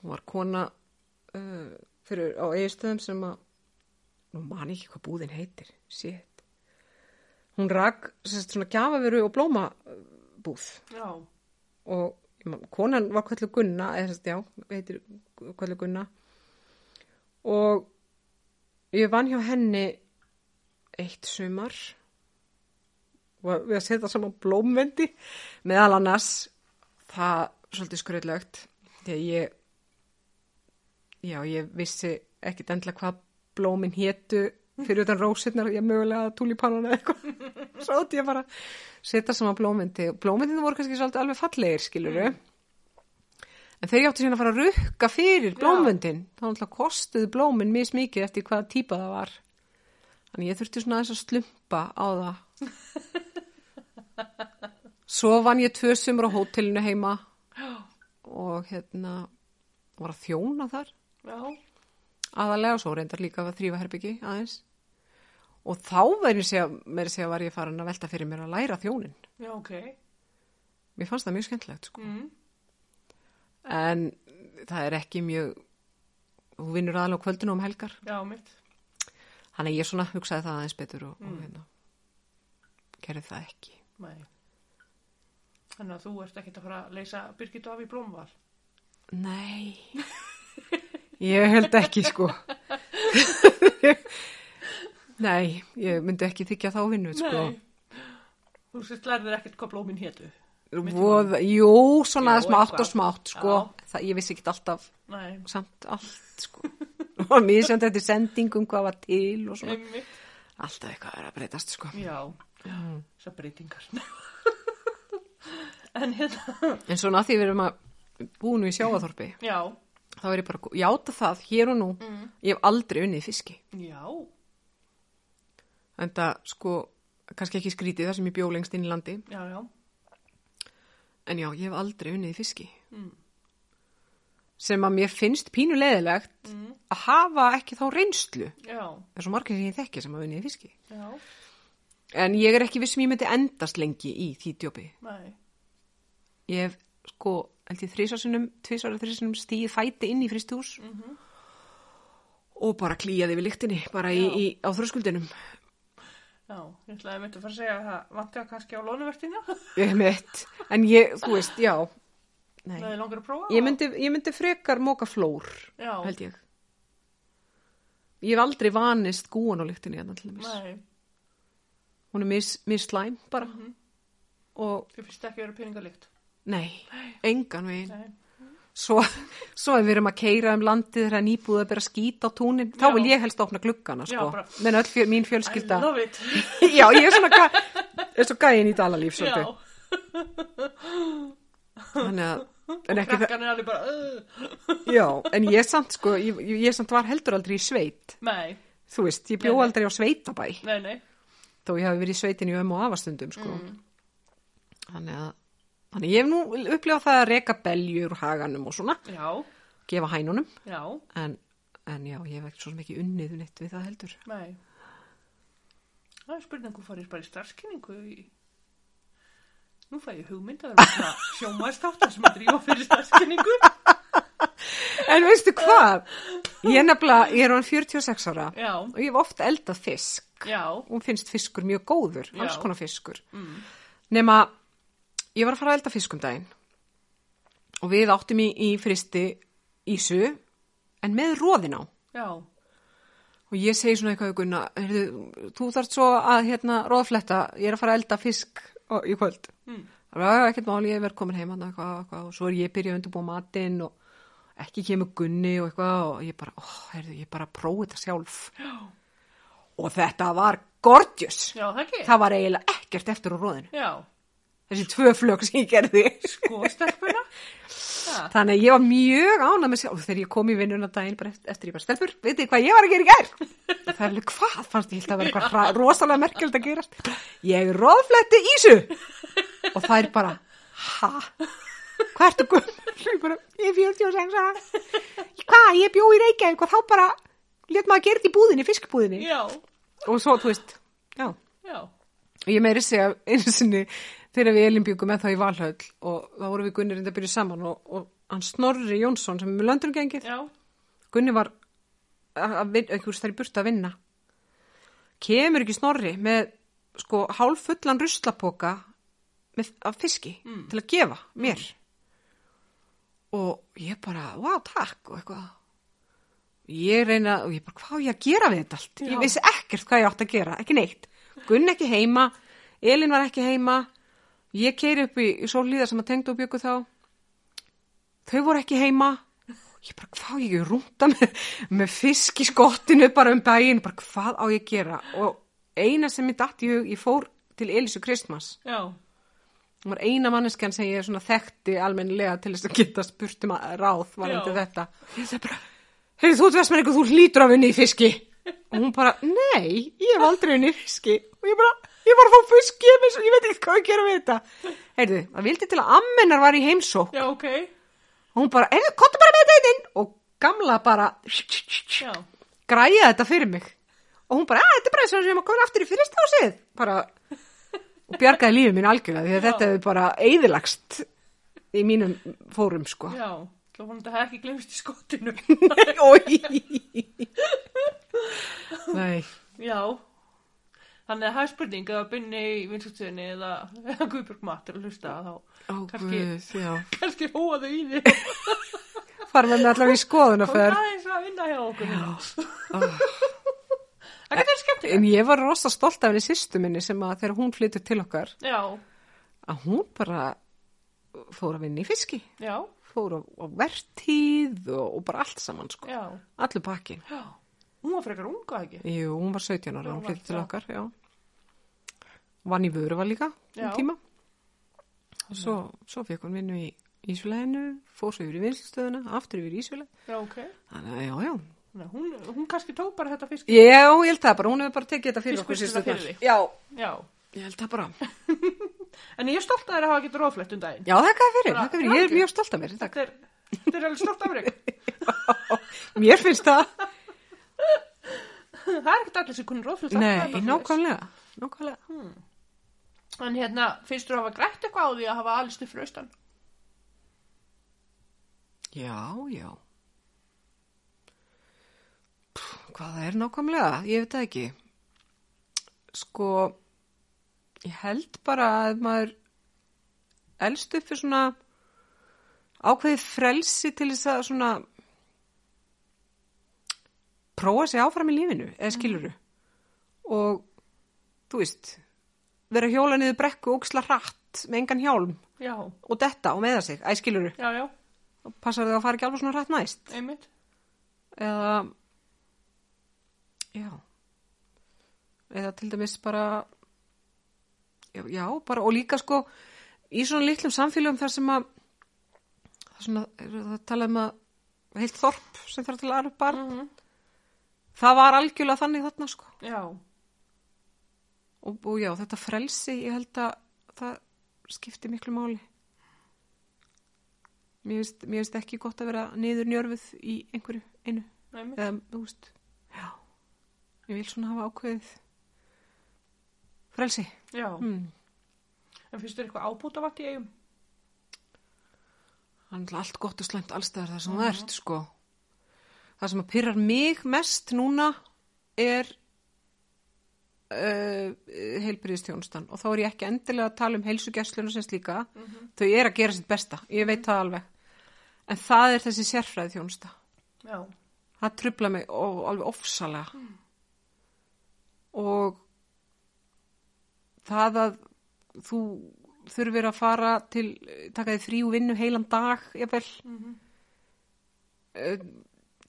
hún var kona uh, fyrir, á eigistöðum sem að, nú man ég ekki hvað búðin heitir, sétt. Hún rak sérst svona gjafaveru og blómabúð
Já.
og ég man- konan var kvælu Gunna, eða sérst, já, heitir kvælu Gunna og ég vann hjá henni eitt sumar og við að setja saman blómvendi meðal annars það svolítið skröðlögt því að ég já, ég vissi ekkit endla hvað blómin hétu fyrir utan rósirnar, ég mögulega tulipanuna eða eitthvað, svo átti ég bara að setja saman blómyndi, blómyndin voru kannski svolítið alveg fallegir, skiluru en þegar ég átti síðan að fara að rukka fyrir blómyndin, þá náttúrulega kostuðu blómin mismikið eftir hvaða típa það var þannig ég þurfti svona aðeins að slumpa á það svo vann ég tvö sumur á hótelinu heima og hérna var að þjóna þar
Já.
aðalega og svo reyndar líka að þrýfa herbyggi aðeins og þá verður segja, meira að segja var ég farin að velta fyrir mér að læra þjónin
Já, ok.
mér fannst það mjög skemmtilegt sko.
Mm.
en það er ekki mjög hún vinnur aðalega á kvöldinu um helgar
Já, mitt.
þannig að ég svona hugsaði það aðeins betur og, og hérna gerði það ekki
Nei. Þannig að þú ert ekkert að fara að leysa Birgit af í blómval.
Nei, ég held ekki sko. Nei, ég myndi ekki þykja þá vinnu sko.
Nei. Þú sérst lærðir ekkert hvað blómin hétu.
Voð, jú, svona
Já,
smátt
eitthvað.
og smátt sko.
Já.
Það, ég vissi ekki alltaf,
Nei.
samt allt sko. Og mér sem þetta sendingum hvað var til og svona.
Einmitt.
Alltaf eitthvað er að breytast sko.
Já. Þessar breytingar. en hérna.
En svona að því við erum að búinu í sjáaþorpi,
Já.
þá er ég bara að játa það hér og nú.
Mm.
Ég hef aldrei unnið í fiski.
Já.
en það sko kannski ekki skrítið þar sem ég bjó lengst inn í landi
Já, já.
en já, ég hef aldrei unnið í fiski
Mm.
sem að mér finnst pínu leðilegt
Mm.
að hafa ekki þá reynslu
Já.
það er svo margir sem ég þekki sem hafa unnið í fiski
Já.
en ég er ekki vissum ég myndi endast lengi í því djópi
Nei.
ég hef sko held ég þrísarsunum, tvísarsunum, þrísarsunum stíð fæti inn í fristús og bara klíjaði við lyktinni bara í, í, á þröskuldinum
Já. Ég ætlaði að mynda að fara að segja að það vanti að kannski á lónuvertina.
Ég mitt. en ég, þú veist, já Nei.
Það er langar að prófa.
Ég myndi, ég myndi frekar móka flór,
Já.
held ég. Ég hef aldrei vanist gúan á lyktinni hérna til þess.
Nei.
Hún er mis, mislæm bara. Og
Þið finnst ekki að vera peningalikt.
nei, engan veginn.
Nei.
Svo, svo ef við erum að keira um landið þegar nýbúið að bera skít á túnin, þá
Já.
vil ég helst opna gluggana,
Já,
sko.
bara-
Men öll fjö, mín
I
fjölskylda.
love it.
Já, ég er svona, ga, er svo gæin í dalalíf,
Já.
svolítið. Þannig að, en
Og
ekki það,
krakkan er alveg bara, uh,
já, en ég samt, sko, ég, ég ég samt var heldur aldrei í sveit.
nei,
Þú veist, ég
Nei,
bjó
nei.
aldrei á sveitabæ.
nei, nei,
þó ég hafi verið í sveitinu um og afastundum sko.
Mm.
þannig að þannig að ég hef nú upplifað það að reka beljur úr haganum og svona,
já,
gefa hænunum
já,
en, en já, ég hef ekki svo sem ekki unnið neitt við það heldur
nei. Það er spurning, hún farið bara í starfskynningu í... Nú fæ ég hugmynd að vera svona sjómaðstáttar sem að drífa fyrir starfskynningu.
en veistu hvað, ég er nefnilega ég er hann 46 ára
Já,
og ég hef oft eldað fisk
já,
og finnst fiskur mjög góður,
Já.
alls konar fiskur nema ég var að fara að elda fisk um daginn og við áttum í, í fristi ísu en með róðin á.
Já.
Og ég segi svona eitthvað, við Gunna, heyrðu, þú þarft svo að hérna róðfletta, ég er að fara að elda fisk og, í kvöld. Mm. Það var ekkert máli, ég er velkomin heima og hérna, eitthvað, eitthvað, og svo er ég byrjað að undirbúa matinn og ekki kemur Gunni og eitthvað og ég bara, ó, heyrðu, ég bara prófi þetta sjálf. Já. Og þetta var gorgeous.
Já, það ekki.
Það var eiginlega ekkert eftir úr róðinu.
Já.
Þessi tvö flög sem ég gerði.
Sko, stelpuna. Já.
Þannig að ég var mjög ánað með sjálf þegar ég kom í vinnuna daginn bara eftir, eftir ég bara stelpur, veitir hvað ég var að gera í gær? Það er alveg hvað, fannst ég held að vera eitthvað hra- rosalega merkjöld að gerast. Ég roðfletti Ísu og það er bara, ha? Hvað ertu gömul? Ég bara, ég er 46 ára. Hvað, ég bjó í Reykjavík og þá bara let maður að gera þetta í búðinni, í fiskbúðinni.
Já.
Og svo, þú veist, já.
Já.
Og ég meiri segja einu sinni þegar við Elin byggum með þá í Valhöll og þá vorum við Gunni reynda að byrja saman og, og hann Snorri Jónsson sem er með löndunum gengið.
Já.
Gunni var einhvers þær í burtu að vinna. Kemur ekki Snorri með sko hálffullan ruslapoka með, af fiski til að gefa mér. Og ég bara, wow, takk og eitthvað. Ég reyna, og ég bara, hvað á ég að gera við þetta allt?
Já.
Ég vissi ekkert hvað ég átt að gera, ekki neitt. Gunn ekki heima, Elin var ekki heima, ég keiri upp í, í sólíðar sem að tengdu og byggu þá. Þau voru ekki heima. Ég bara, hvað á ég að rúnta með, með fisk í skottinu bara um daginn, bara hvað á ég að gera? Og eina sem ég datt í hug, ég fór til Elísu Kristmas.
Já.
Hún var eina manneskjan sem ég svona þekkti almennilega til þess að geta spurt um að ráð varandi
Já.
þetta. Ég það bara, heyrðu þú tvers með eitthvað, þú hlýtur að vinni í fiski. Og hún bara, nei, ég hef aldrei vinni í fiski. Og ég bara, ég var að fá fiski, ég, vissi- ég veit ekki hvað að gera við þetta. Heyrðu, það vildi til að ammennar var í heimsó.
Já, ok.
Og hún bara, heyrðu, kottu bara með þetta inn. Og gamla bara,
Já.
græja þetta fyrir mig. Og hún bara, að þetta er bara eins og sem að koma aftur í fyrirstásið. Bara, og bjargaði lífið mín algjörlega því að
Já.
þetta hefur bara eðilagst í mínum fórum, sko.
Já. Það var þetta ekki glemst í skotinu.
Oj. Nei,
Já. Þannig að það er spurning eða binni í vinstuðinni eða eða Guðbjörg Matt er að hlusta þá
ó
kannski,
guð, já.
kannski hóa þau í þig
Farum við allavega í
og það er
skoðunarferð.
eins að vinna hjá okkur núna. Það getur skemmtilegt
Ah. En ég var rosa stolt af henni sýstu minni sem að þegar hún flytur til okkar,
Já,
að hún bara fór að vinna í fiski,
já,
fór á, á vertíð og, og bara allt saman, sko.
já,
Allur pakkin.
já Hún var frekar unga ekki
Jú, hún var 17 ára,
Hún
hún
var,
flytti til
já.
okkar, já. Vann í vöruva líka
Já.
um tíma. Svo, svo fekk hún vinnu í Ísvöleinu, fór svo yfir í vinslustöðuna, aftur yfir í Ísvöleinu.
Já, ok
Þannig að, já, já.
Nei, hún, hún kannski tók bara þetta fisk
Já, ég held það bara, hún hefur bara tekið þetta fyrir okkur
Fiskvinnsluna
síðustu
fyrir þig.
Já,
Já,
ég held það bara.
en ég er stolt að þér að hafa getur oflett um daginn
Já, þakka þér fyrir,
Bara-
þakka fyrir, ég
Já,
er mjög stolt af mér, takk.
Þetta er, þetta er alveg stolt afreg
Mér finnst það,
Það er ekkert allir sem kunnur oflett
nei, nákvæmlega, nákvæmlega.
En hérna, finnst þú að hafa grætt eitthvað á því að hafa alist upp fraustan?
Já, já. Pff, Hvað það er nákvæmlega? Ég veit það ekki. Sko, ég held bara að maður elst upp fyrir svona ákveðið frelsi til þess að svona prófa sig áfram í lífinu, eða skiluru. Og, þú veist, vera að hjóla niður brekku og óksla hratt með engan hjálm
Já,
og detta og meða sig, eða skiluru
já, já,
og passar þau að fara ekki alveg svona rætt næst
einmitt
eða já eða til dæmis bara já, já bara og líka sko í svona litlum samfélögum þar sem að það, svona, er- það tala um að heilt þorp sem þarf til að alveg barn það var algjörlega þannig þarna sko
Mhm. Já,
og, og já þetta frelsi ég held að það skipti miklu máli mér finnst, mér finnst ekki gott að vera niður njörfuð í einhverju einu
einmitt.
eða, Ehm, þú veist, já, ég vil svona hafa ákveðið frelsi.
Já,
Mm.
en finnst þér eitthvað ábútavatt í eigum?
Það er náttúrulega allt gott og slæmt allstæðar þar sem það ert, sko. Það sem að pyrrar mig mest núna er uh, heilbyrðistjónustan og þá er ég ekki endilega að tala um heilsugessluna sem slíka. Þau er að gera sitt besta, ég veit það alveg. En það er þessi sérfræði þjónusta.
Já,
það trubla mig og, alveg ofsalega og það að þú þurfir að fara til taka því frí og vinnu heilan dag jafnvel mm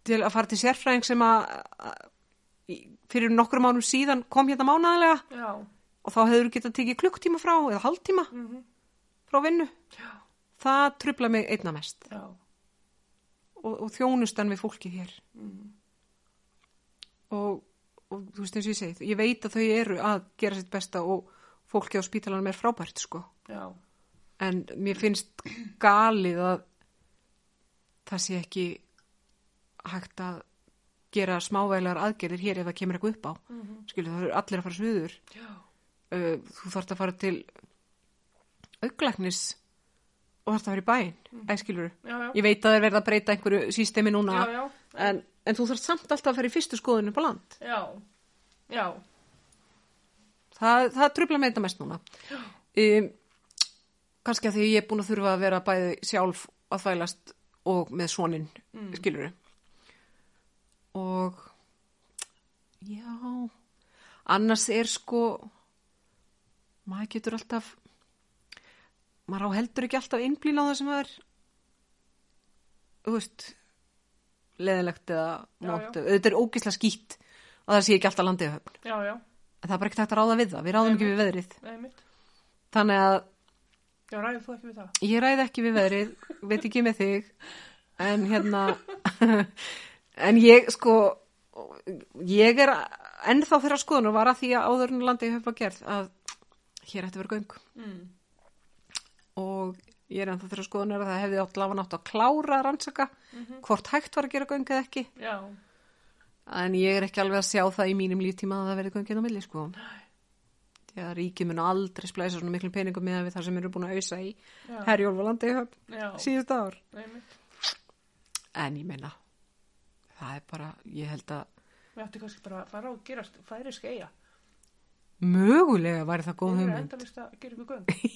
til að fara til sérfræðing sem að að- í- fyrir nokkrum mánum síðan kom hérna mánaðlega
Já.
og þá hefur getað tekið klukktíma frá eða hálftíma
Mhm.
frá vinnu
Já.
það trubla mig einna mest
Já.
og, og þjónustan við fólkið hér og, og þú veist eins og ég segi ég veit að þau eru að gera sitt besta og fólkið á spítalanum er frábært sko
Já.
en mér finnst galið að það sé ekki hægt að gera smávægilegar aðgerðir hér ef það kemur eitthvað upp á mm -hmm. skilu það eru allir að fara suður
Já.
uh, þú þarft að fara til auglagnis og þarft að fara í bæinn mm. æskilur,
Já, já.
ég veit að þeir verða að breyta einhverju sístemi núna
Já, já.
En, en þú þarf samt alltaf að fara í fyrstu skoðunum á land.
Já. Já.
Það, það trubla með þetta mest núna. Um, Kanski að því ég er búin að þurfa að vera bæði sjálf að þvælast og með sonin, mm. skilur Og já, annars er sko, maður getur alltaf, maður á heldur ekki alltaf innblýna á það sem er, þú veist, leðilegt eða
Já,
mótt. Þetta er ógislega skýtt að það sé ekki alltaf landið höfn.
Já, já.
En það er bara ekkert hægt að ráða við það, við ráðum ekki við veðrið.
Einmitt.
Þannig að
Já, ræðið þú ekki við það?
ég ræð ekki við veðrið, veit ekki með þig, en hérna, en ég sko, ég er ennþá þeirra skoðun og var að því að áður en landið höfum að gerð að hér ætti að vera göng
Mm.
og ég er ennþá þeirra skoðun að það hefði átt láfa nátt að klára að rannsaka hvort hægt var að gera göng eða ekki,
Já.
en ég er ekki alveg að sjá það í mínum líftíma að það verði göngin á milli sko. því að ríkið mun aldrei splæsa svona miklum peningum meðan við það sem eru búin að ausa í
Já.
Herjólf og Landeyhöfn
Já.
síðust ár.
Einmitt.
En ég meina, það er bara, ég held að
Við ættum kannski bara að fara og gerast færi skeia.
mögulega væri það
Við
góð
erum
hugmynd.
endalist að gera ykkur göng.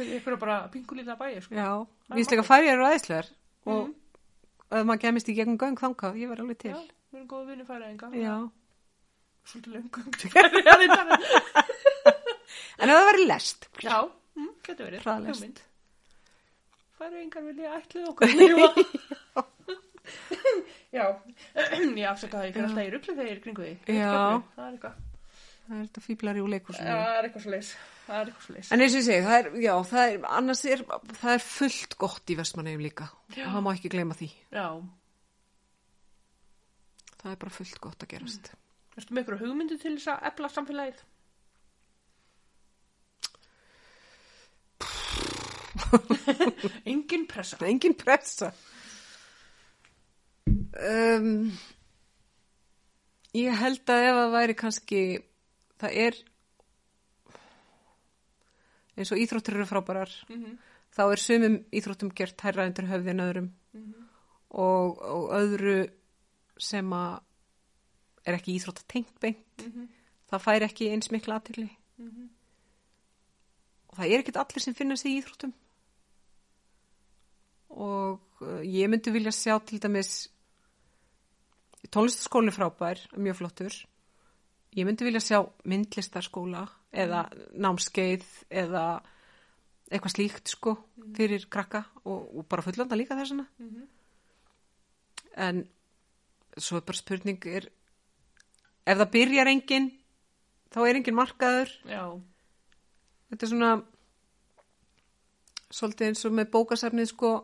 Fyrir ykkur bara pingulíla bæja, sko.
Já,
Það er
víslega færið eru aðeinslegar og ef maður gemist í gegnum göng þangað, ég verði alveg til.
Já, við erum góða vinni færaðinga.
Já.
Svolítið löngum til færaðinga.
En ef það væri lest,
Já, mm, getur verið.
Hraðlest.
Hugmynd. Færeyingar vilja ætluð okkur. Já. Já, ég afsaka það, ég fyrir alltaf í rugglu þegar ég er í kringu því. Ég
Já.
skil mig, Það er eitthvað,
það er þetta fýblar í úr
það
leikursinu.
er eitthvað svo leis, það er eitthvað svo leis.
En eins og ég segi, það er, já, það er, annars er, það er fullt gott í versmannegjum líka.
Já.
Og það má ekki gleyma því.
Já,
Það er bara fullt gott að gerast.
erstu með eitthvað hugmyndi til þess að ebla samfélagið? Engin pressa.
Það er engin pressa. Um, ég held að ef það væri kannski, það er eins og íþróttir eru frábærar,
Mhm.
þá er sumum íþróttum gert hærra undir höfðin öðrum
Mhm.
og, og öðru sem að er ekki íþrótt tengt beint,
Mhm.
það fær ekki eins mikla aðtili.
Mhm.
Og það er ekkert allir sem finna sig í íþróttum og uh, ég myndi vilja sjá til dæmis tónlistaskólinn er frábær, mjög flottur ég myndi vilja sjá myndlistarskóla eða námskeið eða eitthvað slíkt sko fyrir krakka og, og bara fullanda líka þessana
Mhm.
en svo er bara spurning er, ef það byrjar engin þá er engin markaður
Já,
þetta er svona svolítið eins og með bókasafnið sko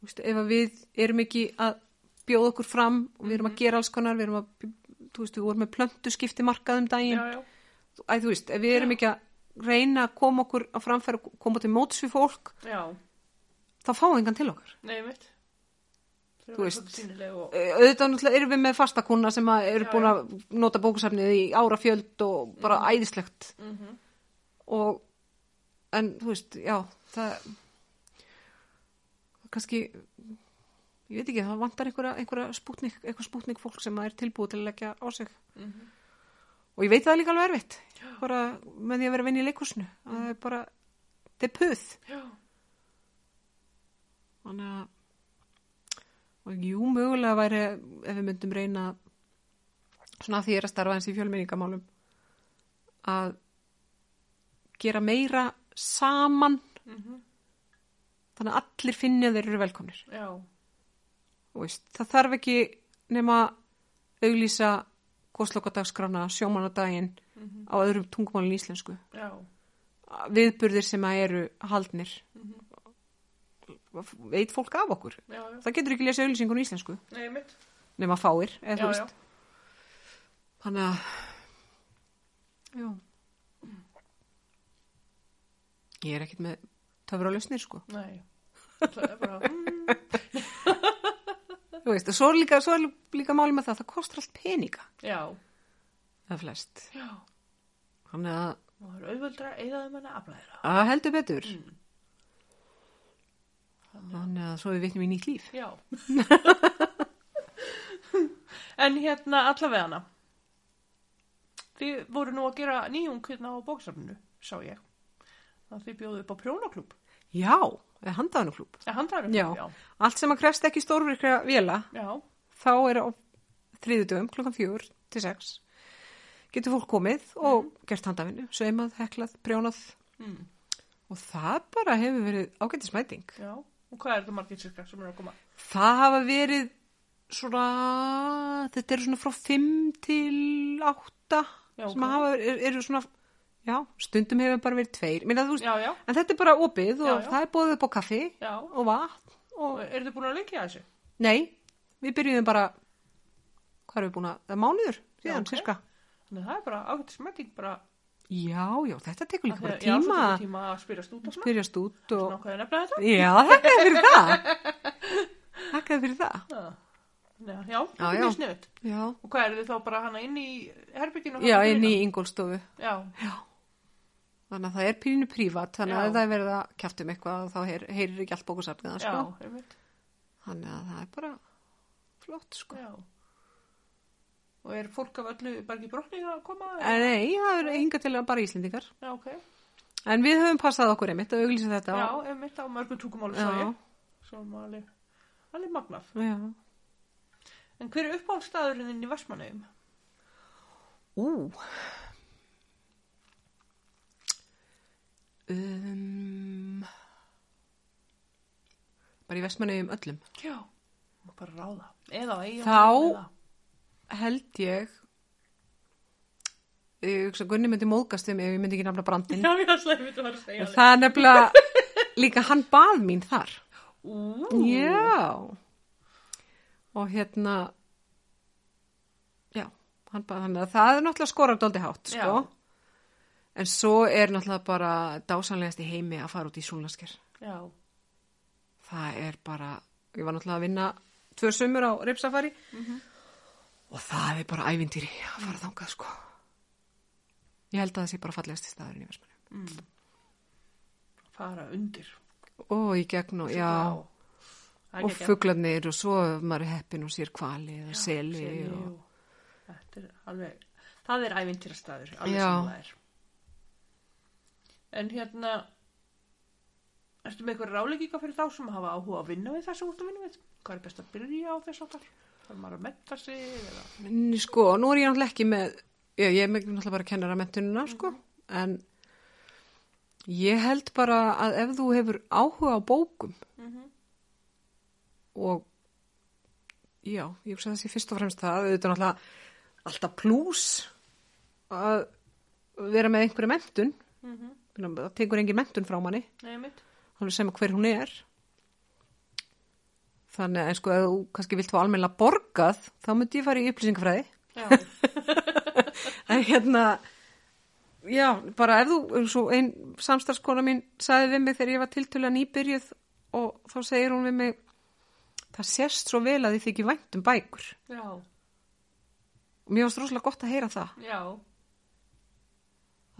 þú veist, ef að við erum ekki að bjóða okkur fram og við erum að gera alls konar við erum að, þú veist, við vorum með plöntu skipti markað um daginn,
já, já.
Æ, þú veist ef við erum ekki að reyna að koma okkur að framfæra, koma til móts við fólk
Já,
þá fáum engan til okkar
nei mitt.
Þú
Þú
veist.
veist. Og...
Eh, auðvitað náttúrulega erum við með fastakúna sem að eru
Já,
búin að nota bókasafnið í árafjöld og bara æðislegt
Mm
og en þú veist, já það kannski ég veit ekki, það vantar einhverja, einhverja spútnik, einhver spútnik fólk sem er tilbúið til að leggja á sig
Mhm.
og ég veit það er líka alveg erfitt bara með því að vera vinn í leikursinu að það er bara, þetta er puð
Já,
þannig að og jú, mögulega væri ef við myndum reyna svona að því ég er að starfa eins í fjölmenningamálum að gera meira saman þannig að allir finni að þeir eru velkomnir
Já.
Þú veist, það þarf ekki nema auglýsa góðslokadagskrána sjómanadaginn á öðrum tungumálinn íslensku
Já.
viðburðir sem að eru haldnir veit fólk af okkur
Já, já.
það getur ekki lesa auglýsingun í íslensku
Nei, mitt.
nema fáir eða þú
Já, já.
veist þannig að já ég er ekkert með töfralausnir sko
Nei. Það er bara, mm,
þú veist, og svo er líka, svo er líka máli með það það kostar allt peninga
já.
eða flest
Já.
þannig að
Það er auðvöldra eðaðum en að afla þeirra.
að heldur betur
Mm.
þannig að svo við vitnum í nýtt líf
Já. en hérna allavega hana. Þið voru nú að gera nýjung hérna á bóksafninu, sá ég. Það þið bjóðu upp á prjónaklúb.
já, eða handaðanuklúb
Eða handarum.
já. allt sem að krefst ekki stórvirkra vila
Já. Já.
þá er á þriðudöfum klukkan fjögur til sex getur fólk komið og gert handavinnu saumað, heklað, brjónað
Mhm. Mm.
og það bara hefur verið ágættis mæting
Já. Og hvað er þetta margir cirka sem eru að koma?
það hafa verið svona þetta eru svona frá 5 til 8
Já,
sem
ok.
hafa, er, eru svona já, stundum hefur bara verið tveir Minna, veist,
Já, já.
en þetta er bara opið og
Já, já.
það er bóðið upp á kaffi
Já.
og vatn og,
Og eru þið búin að lengja þessu?
nei, við byrjuðum bara hvað erum við búin að, það er mánuður
ok.
síðan, sirka
Þannig að það er bara ágættis mæting bara.
já, já, þetta tekur líka bara
Af því að- já, svo
tíma
tekur
að
tíma að spyrjast út og svona.
spyrjast út og
Svona hvað er nefna þetta?
já, þakkaði fyrir það þakkaði fyrir það
Já. Já, já.
Já,
þetta er
já.
sniðugt.
já,
Og hvað eru þið þá bara hana inn í herbygginu?
já inn í yngolstofu
Já,
Þannig að það er pínu prívat,
Já.
þannig að ef það er verið að kjæftum eitthvað þá heyr, heyrir ekki allt bókusafnið
já,
það, sko.
einmitt.
Þannig að það er bara flott, sko.
Já. Og er fólk af öllu bergi brotni að koma?
En nei, það er hingað til bara Íslendingar.
Já, ok.
En við höfum passað okkur einmitt að auglýsa þetta.
Já, einmitt á mörgum tungumálum
Já.
sá ég. Sem alveg, alveg magnað.
Já.
En hver er uppáhaldstæðurinn inn í Vestmannaugum?
Ú. Um, bara í vestmanniðum öllum.
Já. Má bara ráða. Eða á eigum.
Þá-
eða-
Held ég, ég hugsa, Gunni myndi móðgast um ef ég myndi ekki nafna brandin.
Já, já, slæmið þú var að segja.
En það er nefnilega líka hann bað mín þar.
Ú,
Já. Og hérna, já, hann bað hann að það er náttúrulega skorað dóldi hátt, sko.
Já.
En svo er náttúrulega bara dásanlegast í heimi að fara út í súlnasker.
já,
Það er bara, ég var náttúrulega að vinna tvö sömur á ripsafari
Mhm.
og það er bara ævindýri að fara þangað, sko. Ég held að það sé bara fallegast í staðurinn í Vestmanni.
fara undir.
Og í gegn og, já.
Það er
og
ekki
fuglarnir og svo ef maður er heppin og sér kvali eða seli og...
Þetta er alveg, það er ævintýrastæður, alveg
Já.
sem það er. En hérna, ertu með eitthvað rálegginga fyrir þá sem hafa áhuga að vinna við það sem þú ert að vinna við? Hvað er best að byrja á þess að þar? Þarf maður að metta sig eða?
En sko, nú er ég náttúrulega ekki með já, ég er með náttúrulega bara kennaramettunina sko, en ég held bara að ef þú hefur áhuga á bókum og já, ég hugsa að það sé fyrst og fremst það, þetta er náttúrulega alltaf plús að vera með einhverja mentun
Mm -hmm.
það tekur engin mentun frá manni
Nei, mitt.
alveg sem hver hún er þannig að sko ef þú kannski vilt fá almennilega borgað þá myndi ég fara í upplýsingafræði
Já,
en hérna já, bara ef þú eins og ein samstarfskona mín sagði við mig þegar ég var tiltölu að nýbyrjuð og þá segir hún við mig það sérst svo vel að þið þykir vænt um bækur
já,
og mér varst rosalega gott að heyra það
já,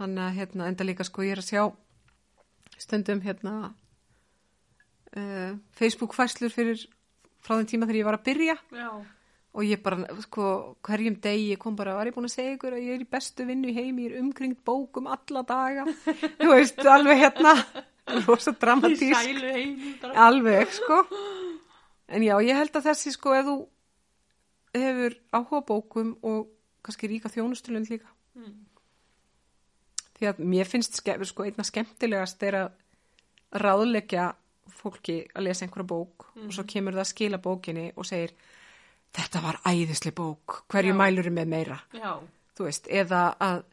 þannig að hérna enda líka sko ég er að sjá stundum hérna uh, Facebook fæslur fyrir frá þeim tíma þegar ég var að byrja
já,
og ég bara, sko, hverjum degi ég kom bara, var ég búin að segja ykkur að ég er í bestu vinnu í heimi, ég er umkringt bókum alla daga, þú veist, alveg hérna rosa
í
dramatísk
sælu heim.
alveg, sko En já, ég held að þessi sko ef þú hefur áhuga á bókum og kannski ríka þjónustulund líka. Því að mér finnst skef, sko, einna skemmtilegast er að ráðleggja fólki að lesa einhverja bók og svo kemur það að skila bókinni og segir þetta var æðisli bók, hverju
Já.
mælurinn með meira?
Já,
þú veist, eða að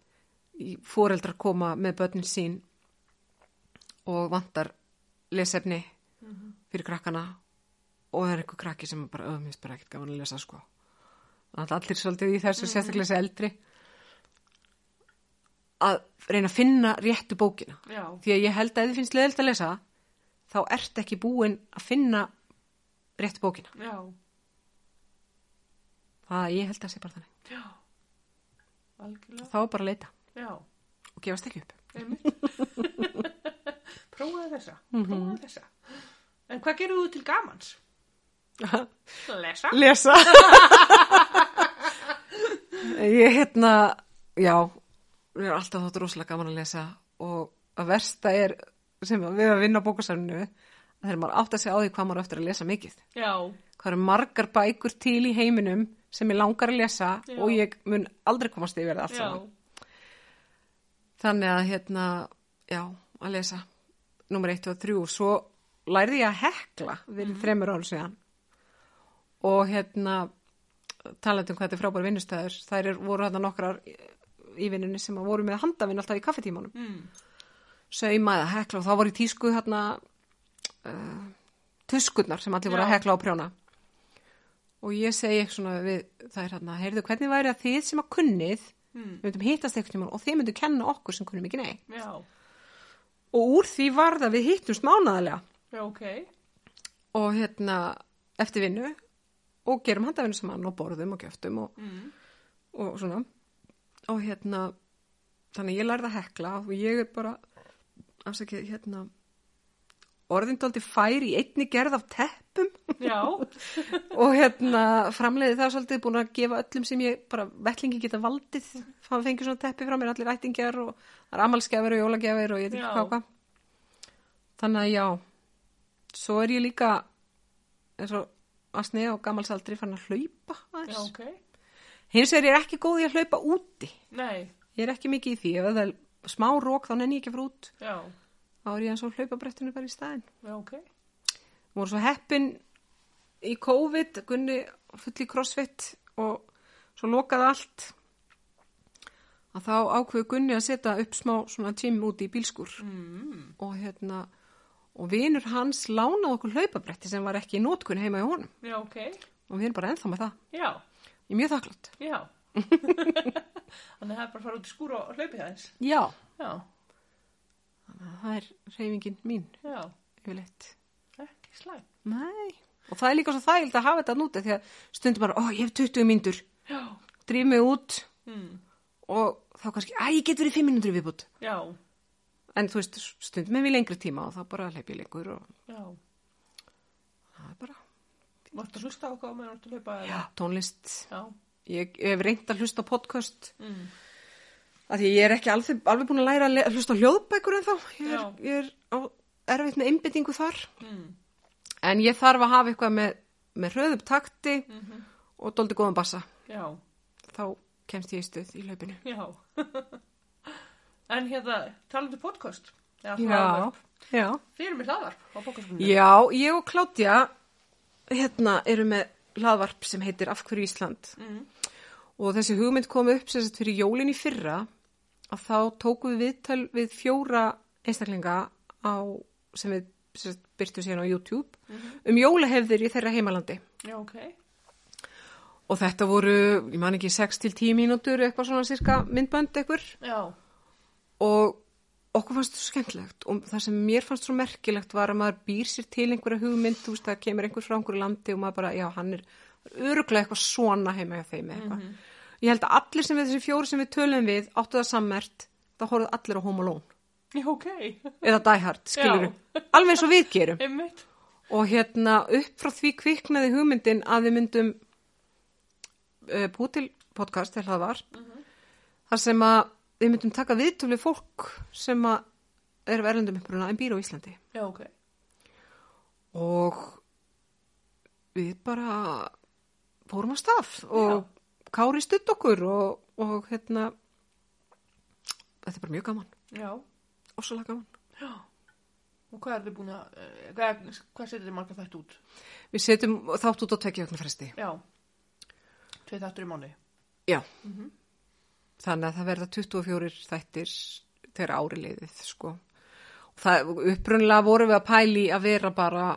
í- foreldrar koma með börnin sín og vantar lesefni fyrir krakkana og það er einhver krakki sem bara öðumist bara ekkert gaman að lesa sko. Þannig að allir svolítið í þessu sérstaklega þessi eldri að reyna að finna réttu bókina.
já,
Því að ég held að ef þið finnst leðilt að lesa þá ert ekki búin að finna réttu bókina.
já,
Það ég held að sé bara þannig.
já, algjörlega,
Þá er bara að leita
já,
og gefast ekki upp.
einmitt. prófaði þessa, prófaði þessa. En hvað gerir þú til gamans? Lesa?
lesa ég hérna já, við erum alltaf þátt rosalega gaman að lesa og að versta er sem að við erum að vinna á bókasafninu að þegar maður átt að segja á því hvað maður á eftir að lesa mikið
Já,
hvað eru margar bækur til í heiminum sem ég langar að lesa
Já.
og ég mun aldrei komast yfir það allt
já,
saman þannig að hérna, já, að lesa nummer 1 og 3 og svo lærði ég að hekla við þremur árum síðan og hérna talandi um hvað þetta er frábær vinnustæður þær er, voru hérna nokkrar í- í vinnunni sem að voru með handavinn alltaf í kaffetímanum
mm.
sauma eða hekla og þá voru í tísku hérna uh, tuskurnar sem allir voru að
Já.
hekla og prjóna og ég segi eitthvað svona við þær hérna, heyrðu hvernig væri að þið sem að kunnið
Mm.
við myndum hittast eitthvað tímann og þið myndum kenna okkur sem kunnum ekki nei
já,
og úr því var það við hittumst mánaðarlega
já, ok,
og hérna eftir vinnu og gerum handavinnu saman og borðum og gjöftum og,
mm.
og svona og hérna þannig að ég lærði að hekla og ég er bara afsakið hérna orðindaldi fær í einni gerð af teppum
já,
og hérna framleiði það svolítið búin að gefa öllum sem ég bara vettlingi geta valdið það fengi svona teppi frá mér allir ættingjar og það er amalsgjafir og jólagjafir og ég veit
Já.
ekki hvað og hvað þannig að já svo er ég líka eins og að sniða og gamalsaldri fann að hlaupa
já,
aðeins.
ok,
hins vegar er ég ekki góð í að hlaupa úti
nei,
ég er ekki mikið í því ef það er smá rók þá nenni ég ekki að fara út
já,
þá er ég eins og hlaupabrettinu bara í staðinn
já, ok,
voru svo heppin í COVID, Gunni full í crossfit og svo lokaði allt að þá ákveðu Gunni að setja upp smá svona gym úti í bílskur
mm.
og hérna og vinur hans lánaði okkur hlaupabretti sem var ekki í nótkun heima í honum
já, ok,
og við erum bara ennþá með það,
já,
ég er mjög þakklátt
já. Þannig að það er bara að fara út í skúr og hlaupi aðeins.
Já,
Já,
það er reyfingin mín
já,
yfirleitt
ekki slæm.
Nei, og það er líka svo þægild að hafa þetta núti því að stundum bara, ó, ég hef 20 mínútur
Já,
drýf mig út
mm.
og þá kannski, æ, ég get verið 5 mínútur viðbútt
já,
en þú veist, stundum hef ég lengri tíma og þá bara hleyp ég lengur og
já.
það er bara
Vartu að hlusta á hvað með vartu að hlaupa? eða?
já. tónlist.
Já,
Ég, ég hef reynd að hlusta á podcast
mm.
af því ég er ekki alveg, alveg búin að læra að le- að hlusta á hljóðbækur en þá ég er,
Já.
ég er á, erfitt með einbyttingu þar
Mm.
en ég þarf að hafa eitthvað með, með hröðum takti
Mhm.
og doldi góðan bassa
já,
þá kemst ég í stuð í hlaupinu
já. en hérna, talandi um podcast. Já,
já.
Þið eru með hlaðvarp á podcastunum.
já, ég og Klátja hérna eru með hlaðvarp sem heitir Af hverju Ísland
Mm.
Og þessi hugmynd kom upp sem sagt fyrir jólin í fyrra að þá tókum við viðtal við fjóra einstaklinga á, sem við sem sagt, byrtu síðan á YouTube um jólahefðir í þeirra heimalandi.
Já, ok.
Og þetta voru, ég man ekki, 6 til 10 mínútur eitthvað svona cirka myndbönd eitthvað
Já,
og okkur fannst þetta svo skemmtilegt og það sem mér fannst svo merkilegt var að maður býr sér til einhverja hugmynd, þú veist, það kemur einhver frá einhverju landi og maður bara, já, hann er öruglega eitthvað svona heima hjá þeim eða eitthvað. Ég held að allir sem við þessi fjóri sem við tölum við áttu það sammert, þá horfðu allir á Home Alone
já, ok.
eða Die Hard, skilur alveg eins og við gerum.
Einmitt.
Og hérna upp frá því kviknaði hugmyndin að við myndum uh, búið til podcast, þegar það var, þar sem að við myndum taka viðtölu við fólk sem að er verðundum uppruna en býr á Íslandi.
Já, ok.
Og við bara fórum að stað og Kári stutt okkur og, og hérna þetta er bara mjög gaman,
Já,
ósalega gaman
já. Og hvað er þið búin að, eh, hvað, hvað setið þið marga þætt út?
Við setjum þátt út á tekjaugna fresti
Já, tveið þáttur í mánu.
Já Þannig að það verða 24 þættir þegar ári leiðið sko. Og það, upprunlega vorum við að pæli að vera bara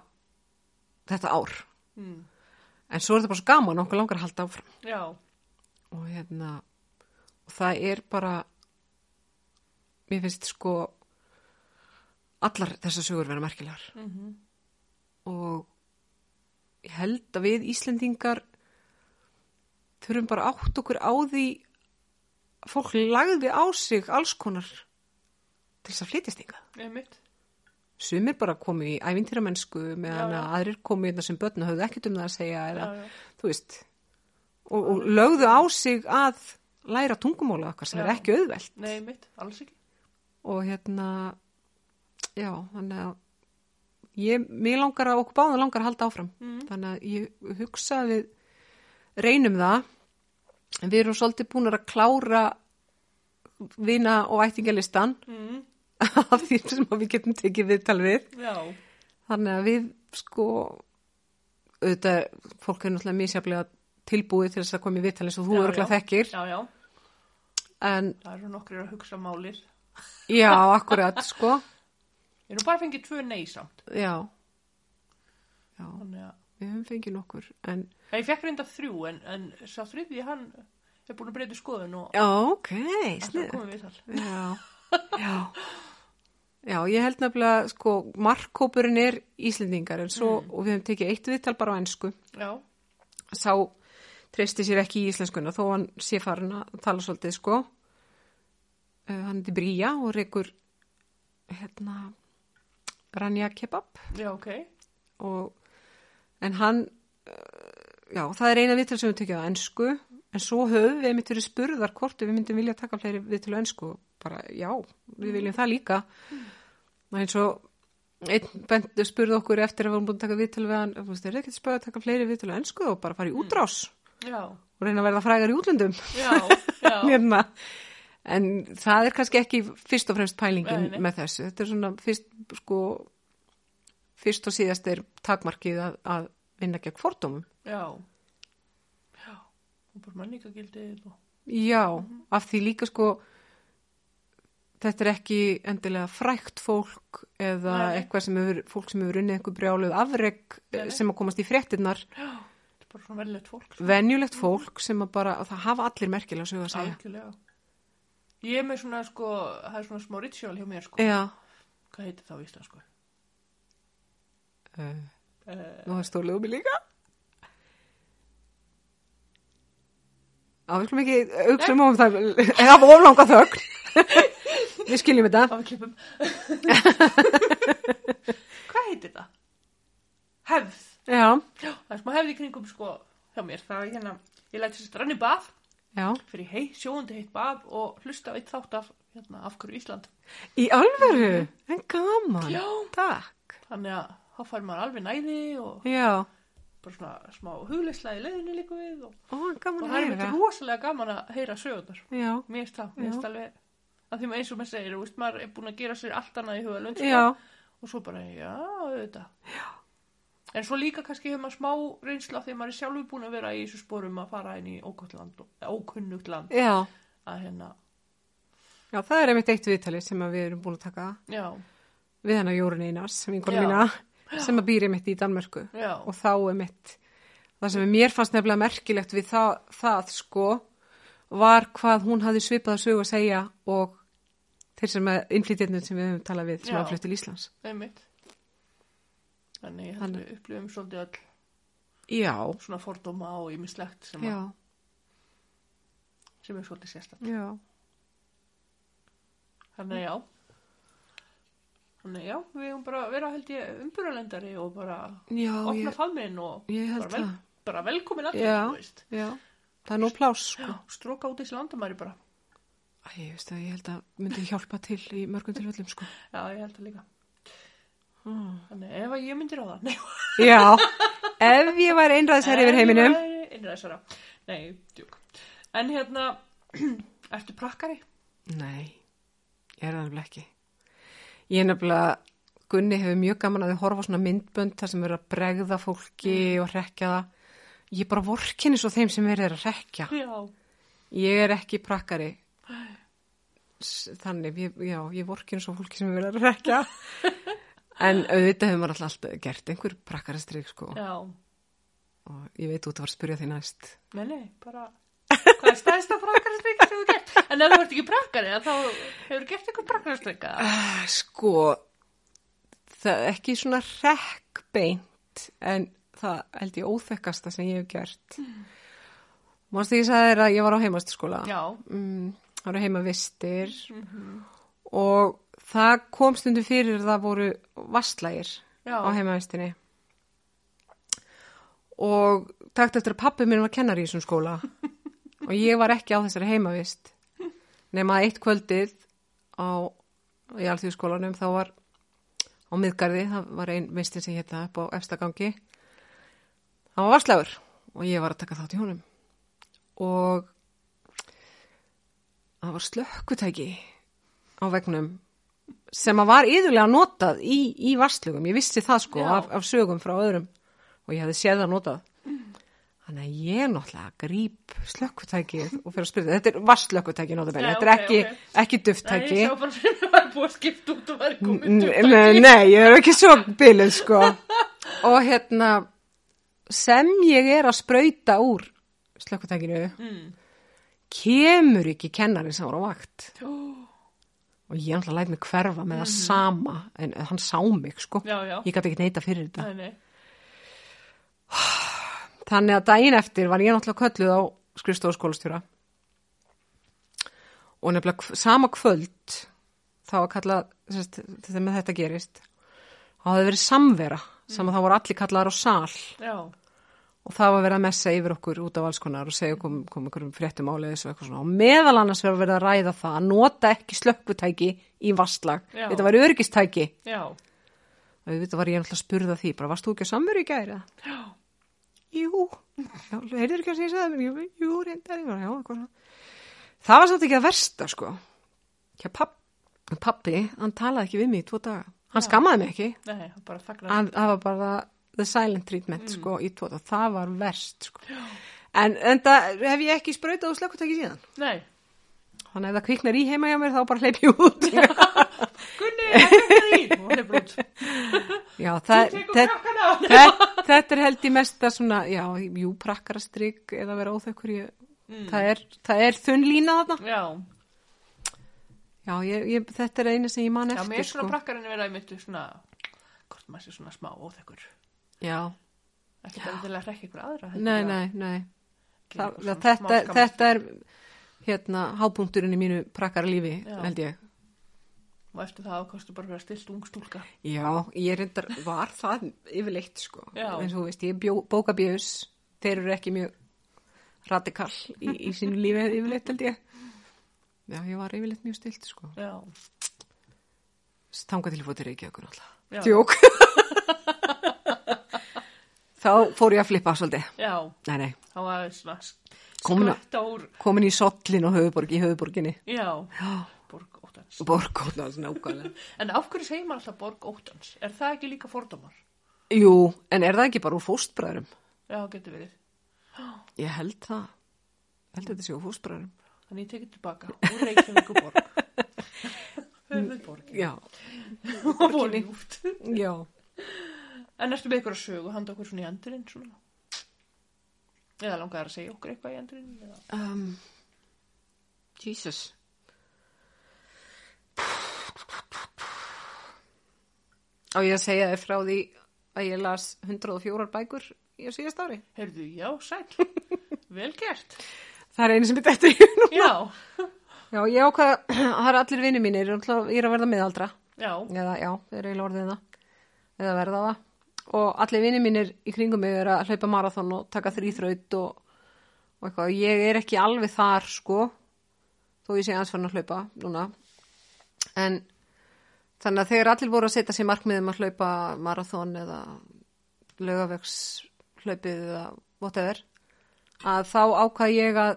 þetta ár
Mm.
en svo er það bara svo gaman, okkur langar að halda áfram
Já,
og hérna og það er bara mér finnst sko allar þessar sögur vera merkilegar
Mhm.
og ég held að við Íslendingar þurfum bara að átt okkur á því að fólk lagði á sig alls konar til þess að flytjast yngað
einmitt.
sumir bara komu í ævintýramennsku meðan
Já, já.
að aðrir komu hérna sem börn og höfðu ekkert um það að segja eða,
Já, já.
þú veist og, og lögðu á sig að læra tungumóla okkar sem er
Já.
ekki auðvelt
Nei, einmitt, alls ekki.
og hérna já, þannig að ég, mér langar að okkur báðum langar að halda áfram
Mhm.
þannig að ég hugsa að við reynum það en við erum svolítið búin að klára vina og ættingalistan
Mm.
af því sem að við getum tekið viðtal við
Já,
þannig að við sko auðvitað, fólk er náttúrulega misjaflega tilbúið til þess að koma í viðtal eins og þú
Já,
örgulega
já.
þekkir
já, já.
en
Það eru nokkrir að hugsa málið.
já, akkurat sko
Ég er nú bara fengið tvö nei samt.
já, já
Þannig að,
við höfum fengið nokkur en,
Já, ég fekk reynda þrjú, en, en sá þriði hann er búin að breyta skoðun og
já, ok
alltaf
snið,
komið við þar.
já, já já, ég held nefnilega sko, markkópurinn er Íslendingar en svo,
Mm.
og við höfum tekið eitt viðtal bara á ennsku
Já,
sá treysti sér ekki í íslenskuna þó hann sé farin að tala svolítið sko uh, hann heitir Bría og reykur hérna Ranja Kebab
já, ok.
og en hann uh, já það er eina viðtöl sem við tekjum á ennsku en svo höfum við einmitt verið spurðar hvort við myndum vilja taka fleiri viðtöl á ennsku bara já, við viljum það líka og eins og einn bendur spurði okkur eftir að við vorum búin að taka viðtöl við hann, þú veist, er það ekki spöð að taka fleiri viðtöl á ennsku og bara fara í útrás
Já,
og reyna að verða frægar í útlöndum
já, já,
hérna en það er kannski ekki fyrst og fremst pælingin
Nei, nei.
með þessu þetta er svona fyrst sko fyrst og síðast er takmarkið að, að vinna gegn fordómum
já. Já, og bara manningagildið og...
já,
Mhm.
af því líka sko þetta er ekki endilega frækt fólk eða
Nei, nei.
eitthvað sem hefur fólk sem hefur unnið einhver brjáluð afreg
Nei, nei.
sem að komast í fréttinnar
Já, þetta er bara svona verðilegt fólk. sko.
venjulegt fólk sem að bara að það hafa allir merkilega sögu að segja
Algjörlega. Ég er með svona, sko, það er svona smá ritual hjá mér, sko.
já, Eh.
Hvað heitir það á íslensku?
uh,
Uh,
Nú það stólið um mig líka Já, við skulum ekki auksum um það Það var oflanga þögn Við skiljum þetta
á við klippum. Hvað heitir það? Hefð.
Já,
Já, það er smá hefð í kringum, sko, hjá mér. Það er hérna, ég læti sér strann í bað,
já
fyrir hei, sjóundi heitt bað og hlusta á eitt þátt af, hérna, af hverju Ísland.
Í alveru, en gaman
Já.
Takk
Þannig að þá fær maður alveg næði og
Já,
bara svona smá hugleysla í leiðinu líka við og,
ó, gaman
og
að
það er mér
heyra
rosalega gaman að heyra sögurnar.
Já,
Mér finnst það, mér finnst alveg að því maður eins og maður segir, þú veist, maður er búin að gera sér allt annað í huga sko.
já,
og svo bara, já, auðvitað. En svo líka kannski hefur maður smá reynsla því maður er sjálfur búin að vera í þessu sporum að fara inn í ókunnugt land, og- ókunnugt land
já
að hérna,
Já, það er einmitt eitt viðtali sem að við erum búin að taka
já,
við hennar Jórun Einars, vinkonu
Já.
mína sem að býr einmitt í Danmörku
já,
og þá er mitt það sem mér fannst nefnilega merkilegt við það, það sko var hvað hún hafði svipað að sögu að segja og þeir sem að innflytjarnir sem við höfum talað við sem
Já.
að flutt til Íslands
einmitt. Þannig ég held
Þannig-
við upplifum svolítið öll
Já,
svona fordóma og ímislegt sem,
já,
að- sem er svolítið sérstætt.
já
Þannig að já, þannig að já, við erum bara að vera held ég umbyrðalendari og bara
Já,
opna
ég,
faðminn og
ég held
bara, vel,
það.
bara velkomin allir,
Já.
þú veist.
já Það er nú plás sko
Stróka út þessi landamæri bara.
Æ, ég veist að ég held að myndi hjálpa til í mörgum tilfellum sko
Já, ég held það líka. Þannig, ef að ég myndi ráða, nei,
Já, Ef ég var einræðsherri yfir heiminum.
Innræðsara. Nei, djúk. En hérna, ertu prakkari?
Nei, ég er það nefnilega ekki. Ég er nefnilega, Gunni hefur mjög gaman að þið horfa á svona myndbönd þar sem eru að bregða fólki og rekja það. Ég bara vorkinni svo þeim sem verið er að rekja.
Já.
Ég er ekki prakkari. S- Þannig, ég, já, ég vorkinni svo fólki sem verið að rekja. en auðvitað hefur maður alltaf- alltaf gert einhver prakkarastrygg, sko.
Já.
Og ég veit út að var að spyrja því næst.
Nei, nei, bara... Hvað er stæðsta prakkarastrykka sem þú gert? En ef þú ert ekki prakkari, þá hefur gert eitthvað prakkarastrykka.
Ah, Sko, það er ekki svona rekkbeint en það held ég óþekkasta sem ég hef gert. Mm. Mástu ég sagði þér að ég var á heimastaskóla.
Já.
Mm, það voru heimavistir og það kom stundu fyrir að það voru vastlægir
Já.
á heimavistinni. Og takt eftir að pappi minn var kennari í þessum skóla og ég var ekki á þessari heimavist nema að eitt kvöldið á, í alþjóðskólanum þá var á miðgarði, það var ein mistin sem hétta upp á efstagangi hann var varslegur og ég var að taka þátt í honum og það var slökkutæki á vegnum sem að var yðurlega notað í, í varslugum, ég vissi það sko
Já.
af, af sögum frá öðrum og ég hefði séð það notað Þannig að ég náttúrulega gríp slökkutækið og fyrir að spyrja, þetta er vasslökkutæki náttúrulega,
Já,
þetta er
ok,
ekki,
ok.
ekki
Nei,
dufttæki.
ég sá bara fyrir að það var búið að skipta út og var komið
N- Nei, nei, ég er ekki svo bilið sko og hérna sem ég er að sprauta úr slökkutækinu
Mm.
kemur ekki kennari sem var á vakt og ég ætla að læt mig hverfa með það sama en hann sá mig sko
Mhm. Já, já.
ég gæti ekki neita fyrir þetta
Nei, nei.
Þannig að daginn eftir var ég náttúrulega kölluð á skrifstofu skólastjóra og nefnilega kv- sama kvöld þá var kallað, sérst, þetta með þetta gerist, þá hafði verið samvera sem að þá voru allir kallaðar á sal
Já.
og það var verið að messa yfir okkur út af alls konar og segja kom, kom einhverjum fréttum áleiðis og eitthvað svona og meðal annars verið að verið að ræða það að nota ekki slökkutæki í vastlag,
Já.
þetta var öryggistæki
Já.
og þetta var ég náttúrulega að spurða því, bara varst þú ekki að samveru í gæri eða?
Já.
Jú, já, heyrður ekki að segja það mér, Ég- jú, reyndar, ég var, já, eitthvað svona. Það var samt ekki að versta, sko. Hjá papp, pappi, hann talaði ekki við mig í tvo daga. Hann skammaði mig ekki,
Nei, það bara þagnar.
hann, það var bara the silent treatment, sko,
Mm.
í tvo daga. Það var verst, sko. En, en það hef ég ekki sprautað og slökkutæki síðan.
Nei.
Þannig að ef það kviknar í heima hjá mér, þá bara hleyp ég út.
Gunni, það er því. Og hann er blút.
já,
Þú
það,
tekur
það,
krakkana á.
þetta, þetta er held í mesta svona, já, jú, prakkarastrygg eða vera óþekkur, ég,
Mm.
það, er, það er þunn lína þarna.
Já.
Já, ég, ég, þetta er eina sem ég man
Já,
eftir,
mér er svona
sko.
prakkarinn verið að mittu svona, hvort maður sé svona smá óþekkur.
Já,
Ekki bara til að rekka ykkur aðra. heldur
nei,
bara
nei, nei.
gera
Það,
eitthvað svona
þetta,
smá skammast.
þetta er, hérna, hápunkturinn í mínu prakkaralífi,
Já.
held ég.
Og eftir það ákastu bara að vera stilt ung stúlka.
Já, ég reyndar, var það yfirleitt, sko.
Já.
En þú veist, ég bjó, bókabjöðs, þeir eru ekki mjög radikal í, í sínu lífi yfirleitt, held ég. Já, ég var yfirleitt mjög stilt, sko.
Já.
Stanga til að fóta reykja okkur alltaf.
Já.
Tjók. Þá fór ég að flippa svolítið.
Já.
Nei, nei.
Þá var það svona
Komin að-
skvætta úr.
komin í sollin og höfuborg í höfuborginni.
Já.
Já.
Borg óttans.
Borgóttans nákvæmlega.
En af hverju segir maður alltaf borg óttans? Er það ekki líka fordómar?
Jú, en er það ekki bara úr fóstbræðurum?
Já, getur verið.
Ég held það. Ég held þetta sé úr fóstbræðurum.
Þannig ég tekið tilbaka úr Reykjavíkuborg. Höfuðborg.
Já.
Og voru ljúft.
Já.
En ertu með ykkur að sögu, handa okkur svona í endurinn svona? Eða langaði að segja okkur eitthvað í endurinn? Eða?
Um, Jesus. Á ég að segja þér frá því að ég las 104 bækur í á síðast ári.
Heyrðu, já, sæll. Vel gert.
Það er einu sem er dættur í hennum.
Já,
Já, ég ákvað, það er allir vinni mínir, ég er að verða miðaldra.
já,
eða já, þeir eru eiginlega orðið það eða verða það og allir vinir mínir í kringum mig eru að hlaupa marathon og taka þrýþraut og, og eitthvað, ég er ekki alveg þar sko, þó ég sé aðeins farin að hlaupa núna en þannig um að þegar allir voru að setja sér markmiðum að hlaupa marathon eða laugavegs hlaupið eða whatever, að þá ákvað ég að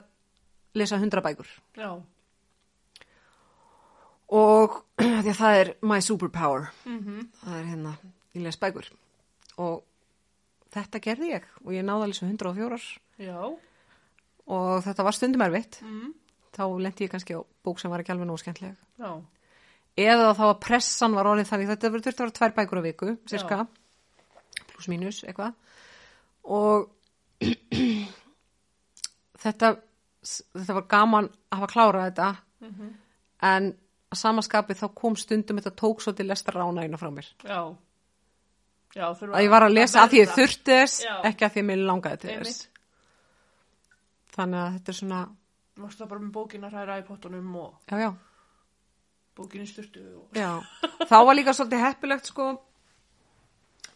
lesa 100 bækur.
Já.
Og því að það er my superpower. -hmm. Það er hérna, ég les bækur. Og þetta gerði ég og ég náði að lesa 104
Já.
og þetta var stundum erfitt.
Mm.
Þá lendi ég kannski á bók sem var ekki alveg nóg skemmtileg.
Já.
eða þá að pressan var orðið þannig þetta verður þurft að vera tvær bækur á viku cirka, pluss mínus eitthvað og þetta þetta var gaman að hafa klárað þetta
Mhm.
en að samaskapi þá kom stundum þetta tók svolítið lestar rána inn á frá mér
Já. Já, þurfa
að ég var að lesa að því ég
verða.
þurfti þess
Já.
ekki að því að mér langaði til
Einmitt.
þess þannig að þetta er svona
Varstu það bara með bókin að hræra í pottunum og
já já
bókin í styrtu og...
Já, þá var líka svolítið heppilegt sko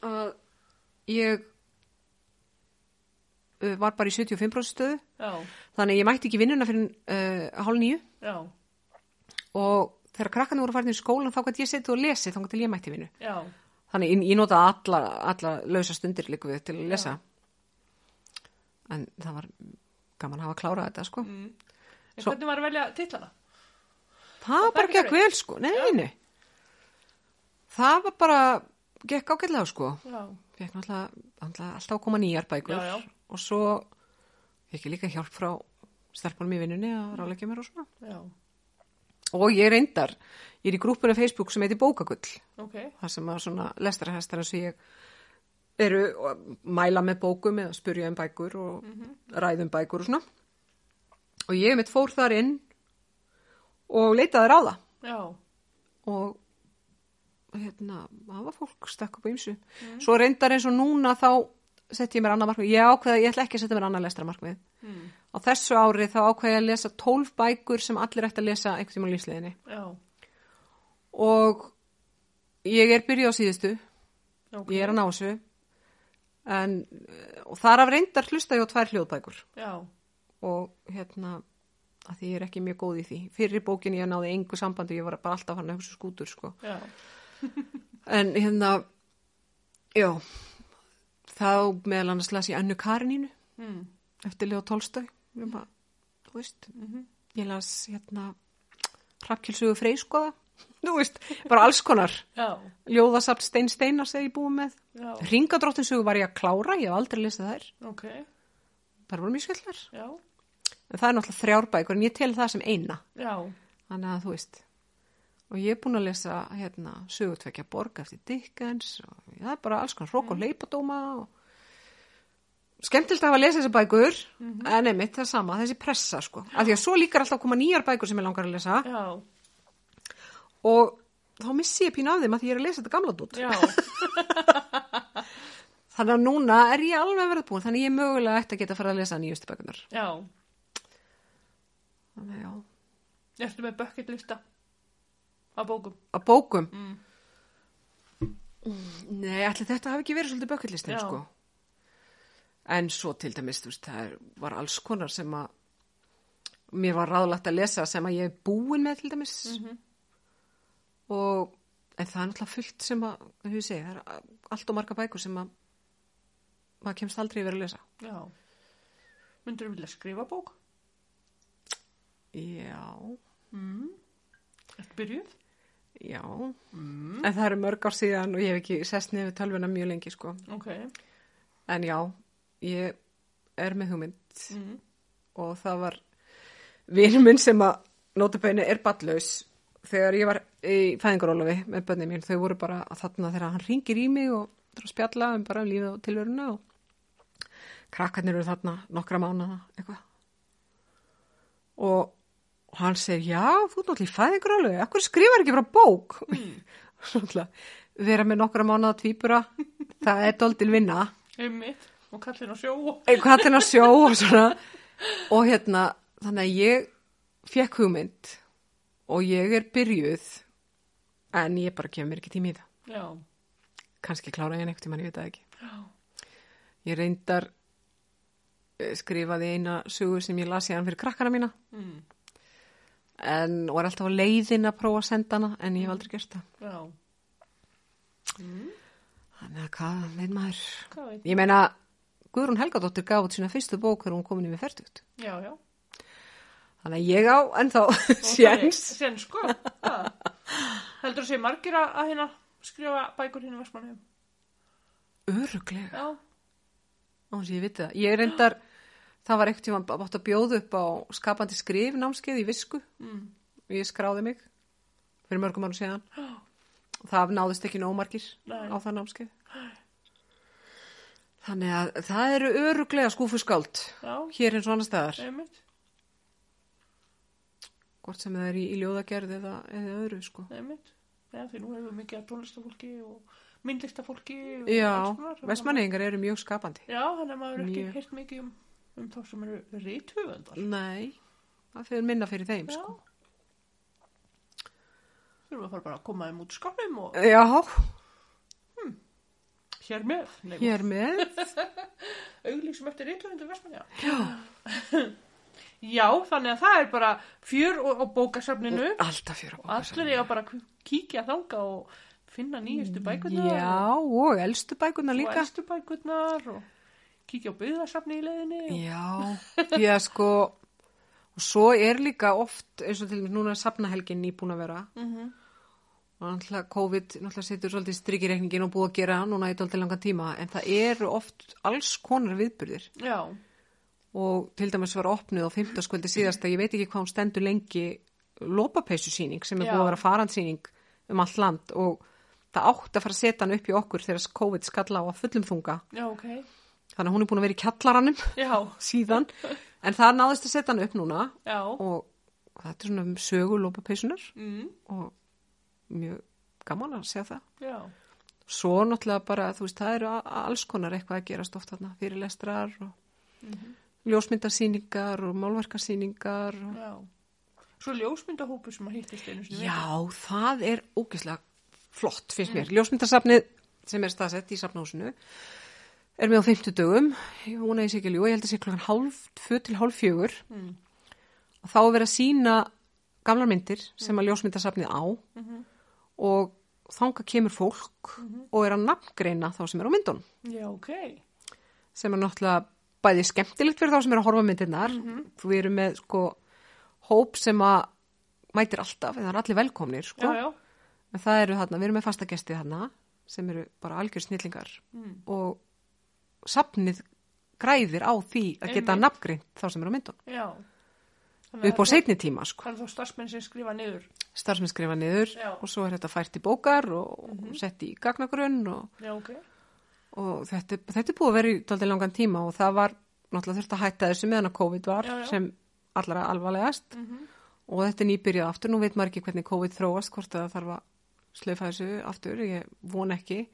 að ég uh, var bara í 75% stöðu
Já,
þannig að ég mætti ekki í vinnuna fyrir uh, hálf nýju
já,
og þegar krakkarnir voru farin í skólan þá gæti ég setið og lesið þá gæti ég mætti í vinnu
já,
þannig ég, ég notaði alla, alla lausa stundir líka við til að lesa en það var gaman að hafa klárað þetta sko
en
Svo-
hvernig var að velja titlana?
það
var
bara
ekki
gekk vel sko, nei, nei það var bara gekk ágætlega sko
Já,
fekk náttúrulega, náttúrulega alltaf að koma nýjar bækur
Já, já.
og svo fekk ég líka hjálp frá stelpunum í vinnunni að ráleika mér og svona.
já,
Og ég reyndar, ég er í grúppuna Facebook sem heitir Bókagull,
ok,
þar sem að svona lestarhestar eins og ég eru að mæla með bókum eða spurja um bækur og
Mhm.
ræða um bækur og svona. Og ég mitt fór þar inn og leitaði ráða
já,
og hérna, það var fólk stakk upp á ýmsu. Svo reyndar eins og núna þá sett ég mér annað markmið. Ég ákveða, ég ætla ekki að setja mér annað lestra markmið.
mm.
Á þessu ári þá ákveða ég að lesa tólf bækur sem allir ætti að lesa einhvern tímann á lífsleginni.
já,
Og ég er byrjuð á síðustu,
ok,
ég er að ná þessu. En, eh, og þar af reyndar hlusta ég á tvær hljóðbækur
já,
og hérna að því ég er ekki mjög góð í því. Fyrir bókin ég náði engu sambandi, ég var bara alltaf hann að hugsa skútur sko.
já,
En hérna, já, þá meðal annars las ég Önnu Karinínu
mm.
eftir Leo Tolstói, um að, þú veist, ég las hérna Hrafkjölsugu Freyskoða, þú veist, bara alls konar.
já,
Ljóðasapt Stein Steinar sem ég búið með.
já,
Ringadróttinsugu var ég að klára, ég hef aldrei lesið þær,
ok,
bara voru mjög skellar.
já,
En það er náttúrulega þrjár bækur, en ég tel það sem eina,
já,
þannig að þú veist. Og ég er búin að lesa hérna sögutvekja borg eftir Dickens og það er bara alls konar hrók og leipadóma og skemmtilegt að hafa að lesa þessar bækur en einmitt það er sama, þessi pressa sko af því að svo líkar alltaf að koma nýjar bækur sem ég langar að lesa
já,
og þá missi ég pínu af þeim að því ég er að lesa þetta gamla dút
já,
þannig að núna er ég alveg verið búin þannig að ég mögulega ætti að geta að fara að lesa nýjustu bækunar
já,
þannig að já,
ertu með bucket lista á bókum?
að bókum
Mm.
Nei, allir þetta hafi ekki verið svolítið bökullistin,
Já.
sko. En svo til dæmis, þú veist, það er, var alls konar sem að mér var ráðlagt að lesa sem að ég er búin með til dæmis.
Mhm.
Og, en það er náttúrulega fullt sem að, hvað ég segi, það er a- allt og marga bækur sem að maður kemst aldrei yfir að lesa.
Já, myndur þú vilja skrifa bók?
Já,
Mm. Ertu byrjuð?
já.
Hmm.
Mm. En það eru mörg ár síðan og ég hef ekki sest niður við tölvuna mjög lengi, sko.
Ok,
En já, ég er með hugmynd
mm.
og það var vinur minn sem að notabeinu er ballaus þegar ég var í fæðingarólafi með bönni mín, þau voru bara að þarna þegar hann ringir í mig og það er að spjalla um bara lífið og tilveruna og krakkarnir eru þarna nokkra mánada eitthvað og og hann segir, já, þú ert náttúrulega í fæðingarólafi akkur skrifar ekki bara bók mm. vera með nokkra mánada tvíbura, það er doldil vinna
einmitt, og kallin á sjó og...
hvað til að sjó og svona og hérna, þannig að ég fekk hugmynd og ég er byrjuð en ég bara kemur mér ekki tími í það
Já,
kannski klára ég hann einhvern tímann, ég veit það ekki
já,
ég reyndar eh, skrifaði eina sögur sem ég las ég hann fyrir krakkana mína
mm.
en var alltaf á leiðin að prófa að senda hana en ég hef aldrei gert það
já,
þannig að hvað, veit maður
hvað veit?
ég meina, Guðrún Helgadóttir gaf út sína fyrstu bók þegar hún komin í með færtugt.
já, já.
Þannig að ég á ennþá
Sjens.
séns.
Sjens, sko. Ha. Heldur þú sé margir að, að hérna skrifa bækur hérna Vestmannheim?
Öruglega.
Já.
Án sem ég viti það. Ég reyndar, það var ekkert tíma að bótt að bjóða upp á skapandi skrif námskeið í visku.
Mm.
Ég skráði mig fyrir mörgum árum séðan.
Já.
Það náðist ekki nómarkir
Nei.
á það námskeið. Þannig að það eru öruglega skúfuskáld
Já,
hér eins og annars staðar.
einmitt,
Hvort sem það er í, í ljóðagerð eða, eða öðru sko.
einmitt. Já, því nú hefur mikið að tónlistafólki og myndlistafólki og
Já,
alls konar, þannig að-
vestmanningar eru mjög skapandi.
Já, þannig að maður ekki
Mjög.
heyrt mikið um, um þá sem eru reythöfundar.
Nei, það fyrir minna fyrir þeim
Já.
sko.
Þurfum að fara bara að koma þeim út skálum og
Já,
hér með. Nei,
ég er með.
auglýsum eftir reythöfundu Vestmanja. Já. Já, þannig að það er bara fjör og, og bókasafninu.
Alltaf fyrir
Og allir eiga bara að kíkja þanga og finna nýjustu bækurnar.
Já, og elstu bækuna
og, og
líka.
elstu bækurnar og kíkja á byggðasafni í leiðinni. og-
Já, því að sko, og svo er líka oft, eins og til mér núna er safnahelgin nýbúin að vera.
Mhm.
Og náttúrulega COVID, náttúrulega setur svolítið strikkireikningin og búið að gera núna í dálítið langan tíma. En það eru oft alls konar viðburðir.
Já,
og til dæmis var opnuð á 15. skvöldi síðasta, ég veit ekki hvað hún stendur lengi lópapeysusýning sem er
Já.
búin að vera farandsýning um allt land og það átt að fara að setja hann upp í okkur þegar COVID skalla á að fullum þunga
já, ok.
þannig að hún er búin að vera í kjallaranum
Já,
síðan, en það náðist að setja hann upp núna
já.
og þetta er svona um sögu lópapeysunar
Mm,
og mjög gaman að segja það
já,
svo náttúrulega bara, þú veist, það eru a- alls konar eitthvað að gerast oft þarna, fyrirlestrar og ljósmyndasýningar og málverkasýningar og...
já. Svo ljósmyndahópu sem að hittist einu sinni.
Já, það er ógeðslega flott, finnst mér. Ljósmyndasafnið sem er staðsett í safnahúsinu er með á 50 dögum, ég vona að ég sé ekki að ljóa, ég held að sé klokkan hálf, tvö til hálf fjögur
Mm.
og þá er verið að sína gamlar myndir
Mm.
sem að ljósmyndasafnið á
Mhm.
og þanga kemur fólk og er að nafngreina þá sem er á myndunum
Já, ok.
sem er náttúrulega bæði skemmtilegt fyrir þá sem eru að horfa á myndirnar.
Mhm.
Við erum með sko hóp sem að mætir alltaf, en það er allir velkomnir sko.
Já, já.
En það eru þarna, við erum með fasta gesti þarna sem eru bara algjör snillingar
Mm.
og safnið græðir á því að geta
Einmitt.
nafngrind þá sem eru á myndun.
Já. Þannig að
Upp á seinni tíma sko.
Það er þá starfsmenn sem skrifa niður.
Starfsmenn skrifa niður
Já. Mhm.
og svo er þetta fært í bókar og, og sett í gagnagrunn og
Já, ok.
og þetta, þetta er búið að vera í daldið langan tíma og það var náttúrulega þurft að hætta þessu meðan að COVID var
Já, já.
sem allra alvarlegast
Mhm.
og þetta er nýbyrjað aftur, nú veit maður ekki hvernig COVID þróast hvort að það þarf að slaufa þessu aftur, ég von ekki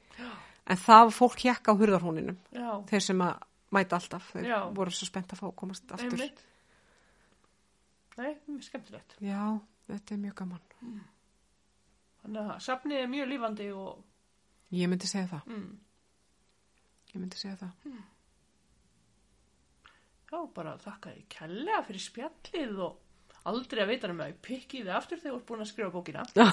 en það fólk hjekk á hurðarhúninum
Já,
þeir sem að mæta alltaf þeir
Já.
voru svo spennt að fá að komast aftur
einmitt. Nei, mjög skemmtilegt.
Já, þetta er mjög gaman
Þannig að safnið er mjög lífandi og...
Ég myndi segja það,
Mm.
ég myndi segja það
Já, bara þakka þið kærlega fyrir spjallið og aldrei að veita um að ég pikki þið aftur þegar þú ert búin að skrifa bókina.
Já,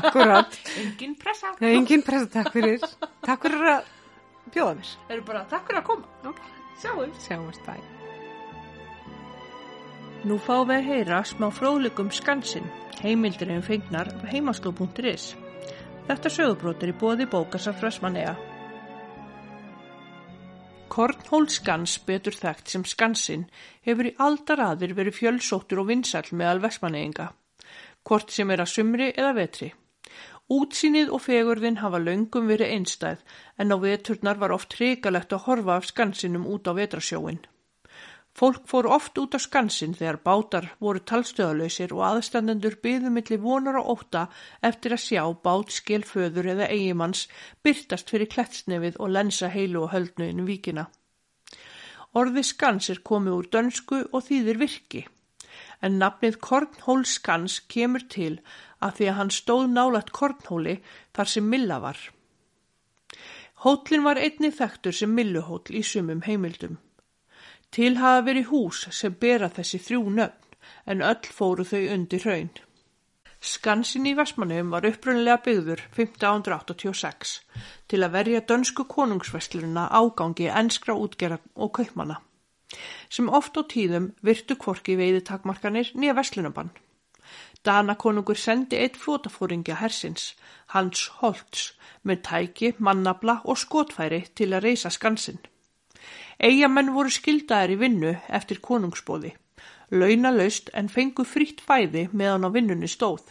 akkurat
Engin pressa.
Engin pressa, takk fyrir Takk fyrir að bjóða mér
Það eru bara takk fyrir að koma.
okay.
Sjáum.
Sjáumst, bæ
Nú fáum við að heyra smá um fróðlegum skansinn, heimildirinn um fengnar af heimasló.is. Þetta sögubrót er í bóði bókasar frösmanega. Kornhólskans, betur þekkt sem skansinn, hefur í aldaraðir verið fjölsóttur og vinsall meðal versmaneyinga, hvort sem er að sumri eða vetri. Útsýnið og fegurðin hafa löngum verið einstæð, en á veturnar var oft hrikalegt að horfa af skansinum út á vetrasjóin. Fólk fór oft út á skansin þegar bátar voru talstöðalausir og aðstandendur byðu milli vonar og óta eftir að sjá bát skil föður eða eigimanns byrtast fyrir klettsnefið og lensa heilu og höldnu inn víkina. Orði skans er komið úr dönsku og þýðir virki. En nafnið Kornhólskans kemur til að því að hann stóð nálat Kornhóli þar sem Milla var. Hótlinn var einni þekktur sem Milluhóll í sumum heimildum. Til hafa verið hús sem bera þessi þrjú nöfn en öll fóru þau undir hraun. Skansin í Vestmannaum var upprunnilega byggður 1586 til að verja dönsku konungsveslunina ágangi enskra útgerra og kaupmanna sem oft á tíðum virtu kvorki veiði takmarkanir nýja veslunabann. Danakonungur sendi eitt flótafóringja hersins, Hans Holtz, með tæki, mannabla og skotfæri til að reysa skansin. Eyjamenn voru skildaðir í vinnu eftir konungsbóði, launalaust en fengu frítt fæði meðan á vinnunni stóð.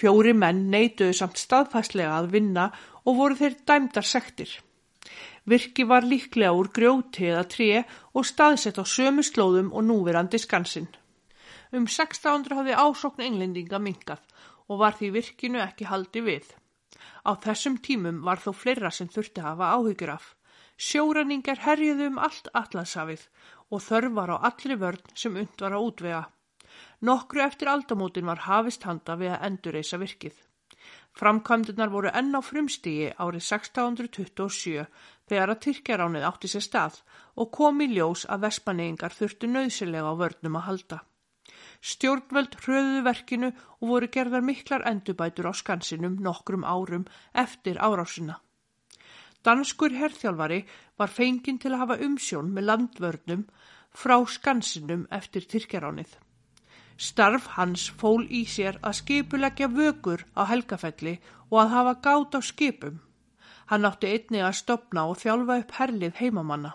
Fjóri menn neituðu samt staðfæslega að vinna og voru þeir dæmdar sektir. Virki var líklega úr grjóti eða tré og staðsett á sömu slóðum og núverandi skansinn. Um 1600 hafði ásókn englendinga minkað og var því virkinu ekki haldi við. Á þessum tímum var þó fleira sem þurfti að hafa áhyggjur af. Sjóraningar herjuðu um allt allansafið og þörf var á allri vörn sem und var að útvega. Nokkru eftir aldamótin var hafist handa við að endurreisa virkið. Framkvæmdunar voru enn á frumstigi árið 1627 þegar að Tyrkjaránið átti sér stað og kom í ljós að vespaneyingar þurftu nöðsilega á vörnum að halda. Stjórnvöld hröðuðu verkinu og voru gerðar miklar endurbætur á skansinum nokkrum árum eftir árásina. Danskur herþjálfari var fenginn til að hafa umsjón með landvörnum frá skansinum eftir Tyrkjaránið. Starf hans fól í sér að skipuleggja vökur á helgafelli og að hafa gát á skipum. Hann átti einni að stopna og þjálfa upp herlið heimamanna.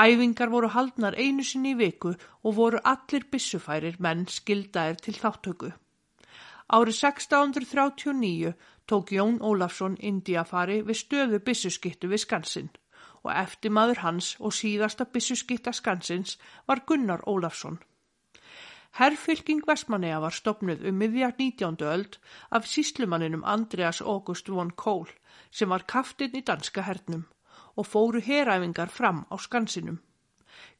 Æfingar voru haldnar einu sinni í viku og voru allir bissufærir menn skildaðir til þáttöku. Árið 1639 tók Jón Ólafsson Indiafari við stöðu bissuskittu við skansinn og eftir maður hans og síðasta bissuskitta skansins var Gunnar Ólafsson. Herrfylking Vestmanneja var stopnuð um miðjar 19. öld af síslumanninum Andreas August von Kohl sem var kaftinn í danska hernum og fóru heræfingar fram á skansinum.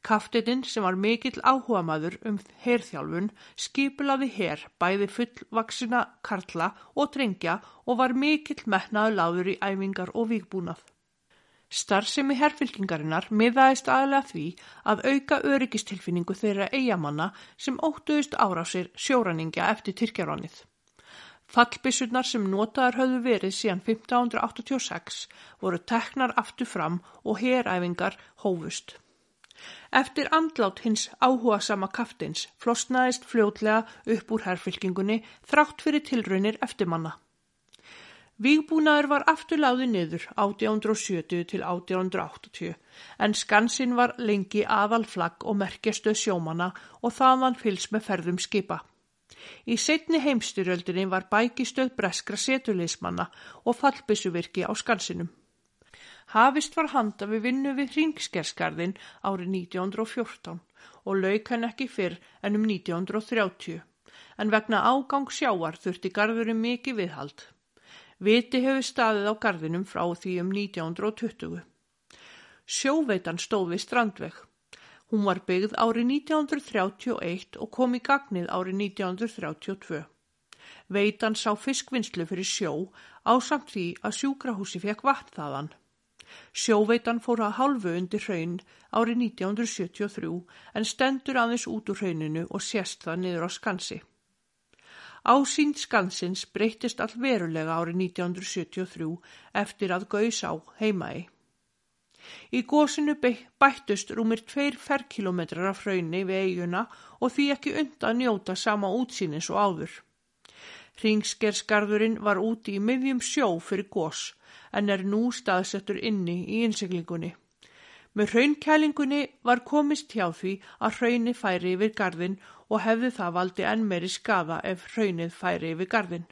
Kaftinn sem var mikill áhugaðmaður um herþjálfun skipulaði her bæði fullvaksina karla og drengja og var mikill metnaðu láður í æfingar og vikbúnað. Starfsemi herfylkingarinnar miðaðist aðlega því að auka öryggistilfinningu þeirra eigamanna sem óttuðist árásir sjóraningja eftir Tyrkjarónið. Fallbissurnar sem notaðar höfðu verið síðan 1586 voru teknar aftur fram og heræfingar hófust. Eftir andlát hins áhugasama kaftins flosnaðist fljótlega upp úr herfylkingunni þrátt fyrir tilraunir eftirmanna. Vígbúnaður var afturláði niður 1870 til 1880 en skansinn var lengi aðalflagg og merkjastuð sjómana og þaðan fylgst með ferðum skipa. Í setni heimstyrjöldinni var bækistuð breskra setuleismanna og fallbissuvirki á skansinum. Hafist var handa við vinnu við hringskerskarðin árið 1914 og lauk hann ekki fyrr en um 1930 en vegna ágang sjáar þurfti garðurinn mikið viðhald. Viti hefur staðið á gardinum frá því um 1920. Sjóveitan stóð við strandveg. Hún var byggð árið 1931 og kom í gagnið árið 1932. Veitan sá fiskvinnslu fyrir sjó ásamt því að sjúkrahúsi fekk vatn þaðan. Sjóveitan fór að halvu undir hraun árið 1973 en stendur aðeins út úr hrauninu og sérst það niður á skansi. Ásýnd skansins breyttist allverulega árið 1973 eftir að Gauðsá heimaði. Í gósinu bættust rúmir tveir ferkilometrar af hraunni við eiguna og því ekki undan njóta sama útsýnis og áður. Ringskersgarðurinn var úti í miðjum sjó fyrir gós en er nú staðsettur inni í innseglingunni. Með hraunkælingunni var komist hjá því að hraunni færi yfir garðin og hefði það valdi enn meiri skafa ef hraunnið færi yfir garðin.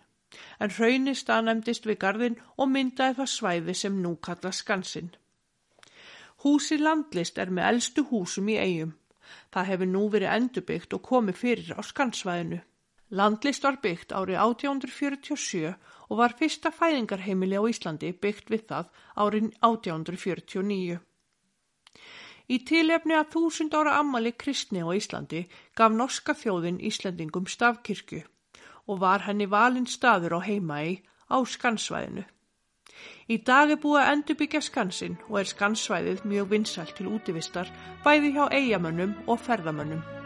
En hraunnið staðnæmdist við garðin og myndaði það svæði sem nú kalla skansinn. Húsi landlist er með eldstu húsum í eigum. Það hefur nú verið endurbyggt og komið fyrir á skansvæðinu. Landlist var byggt árið 1847 og var fyrsta fæðingarheimili á Íslandi byggt við það árið 1849. Í tilefni að þúsund ára ammali kristni á Íslandi gaf norska þjóðin Íslandingum stafkirkju og var henni valinn staður á heimaði á skansvæðinu. Í dag er búið að endurbyggja skansin og er skansvæðið mjög vinsalt til útivistar bæði hjá eigamönnum og ferðamönnum.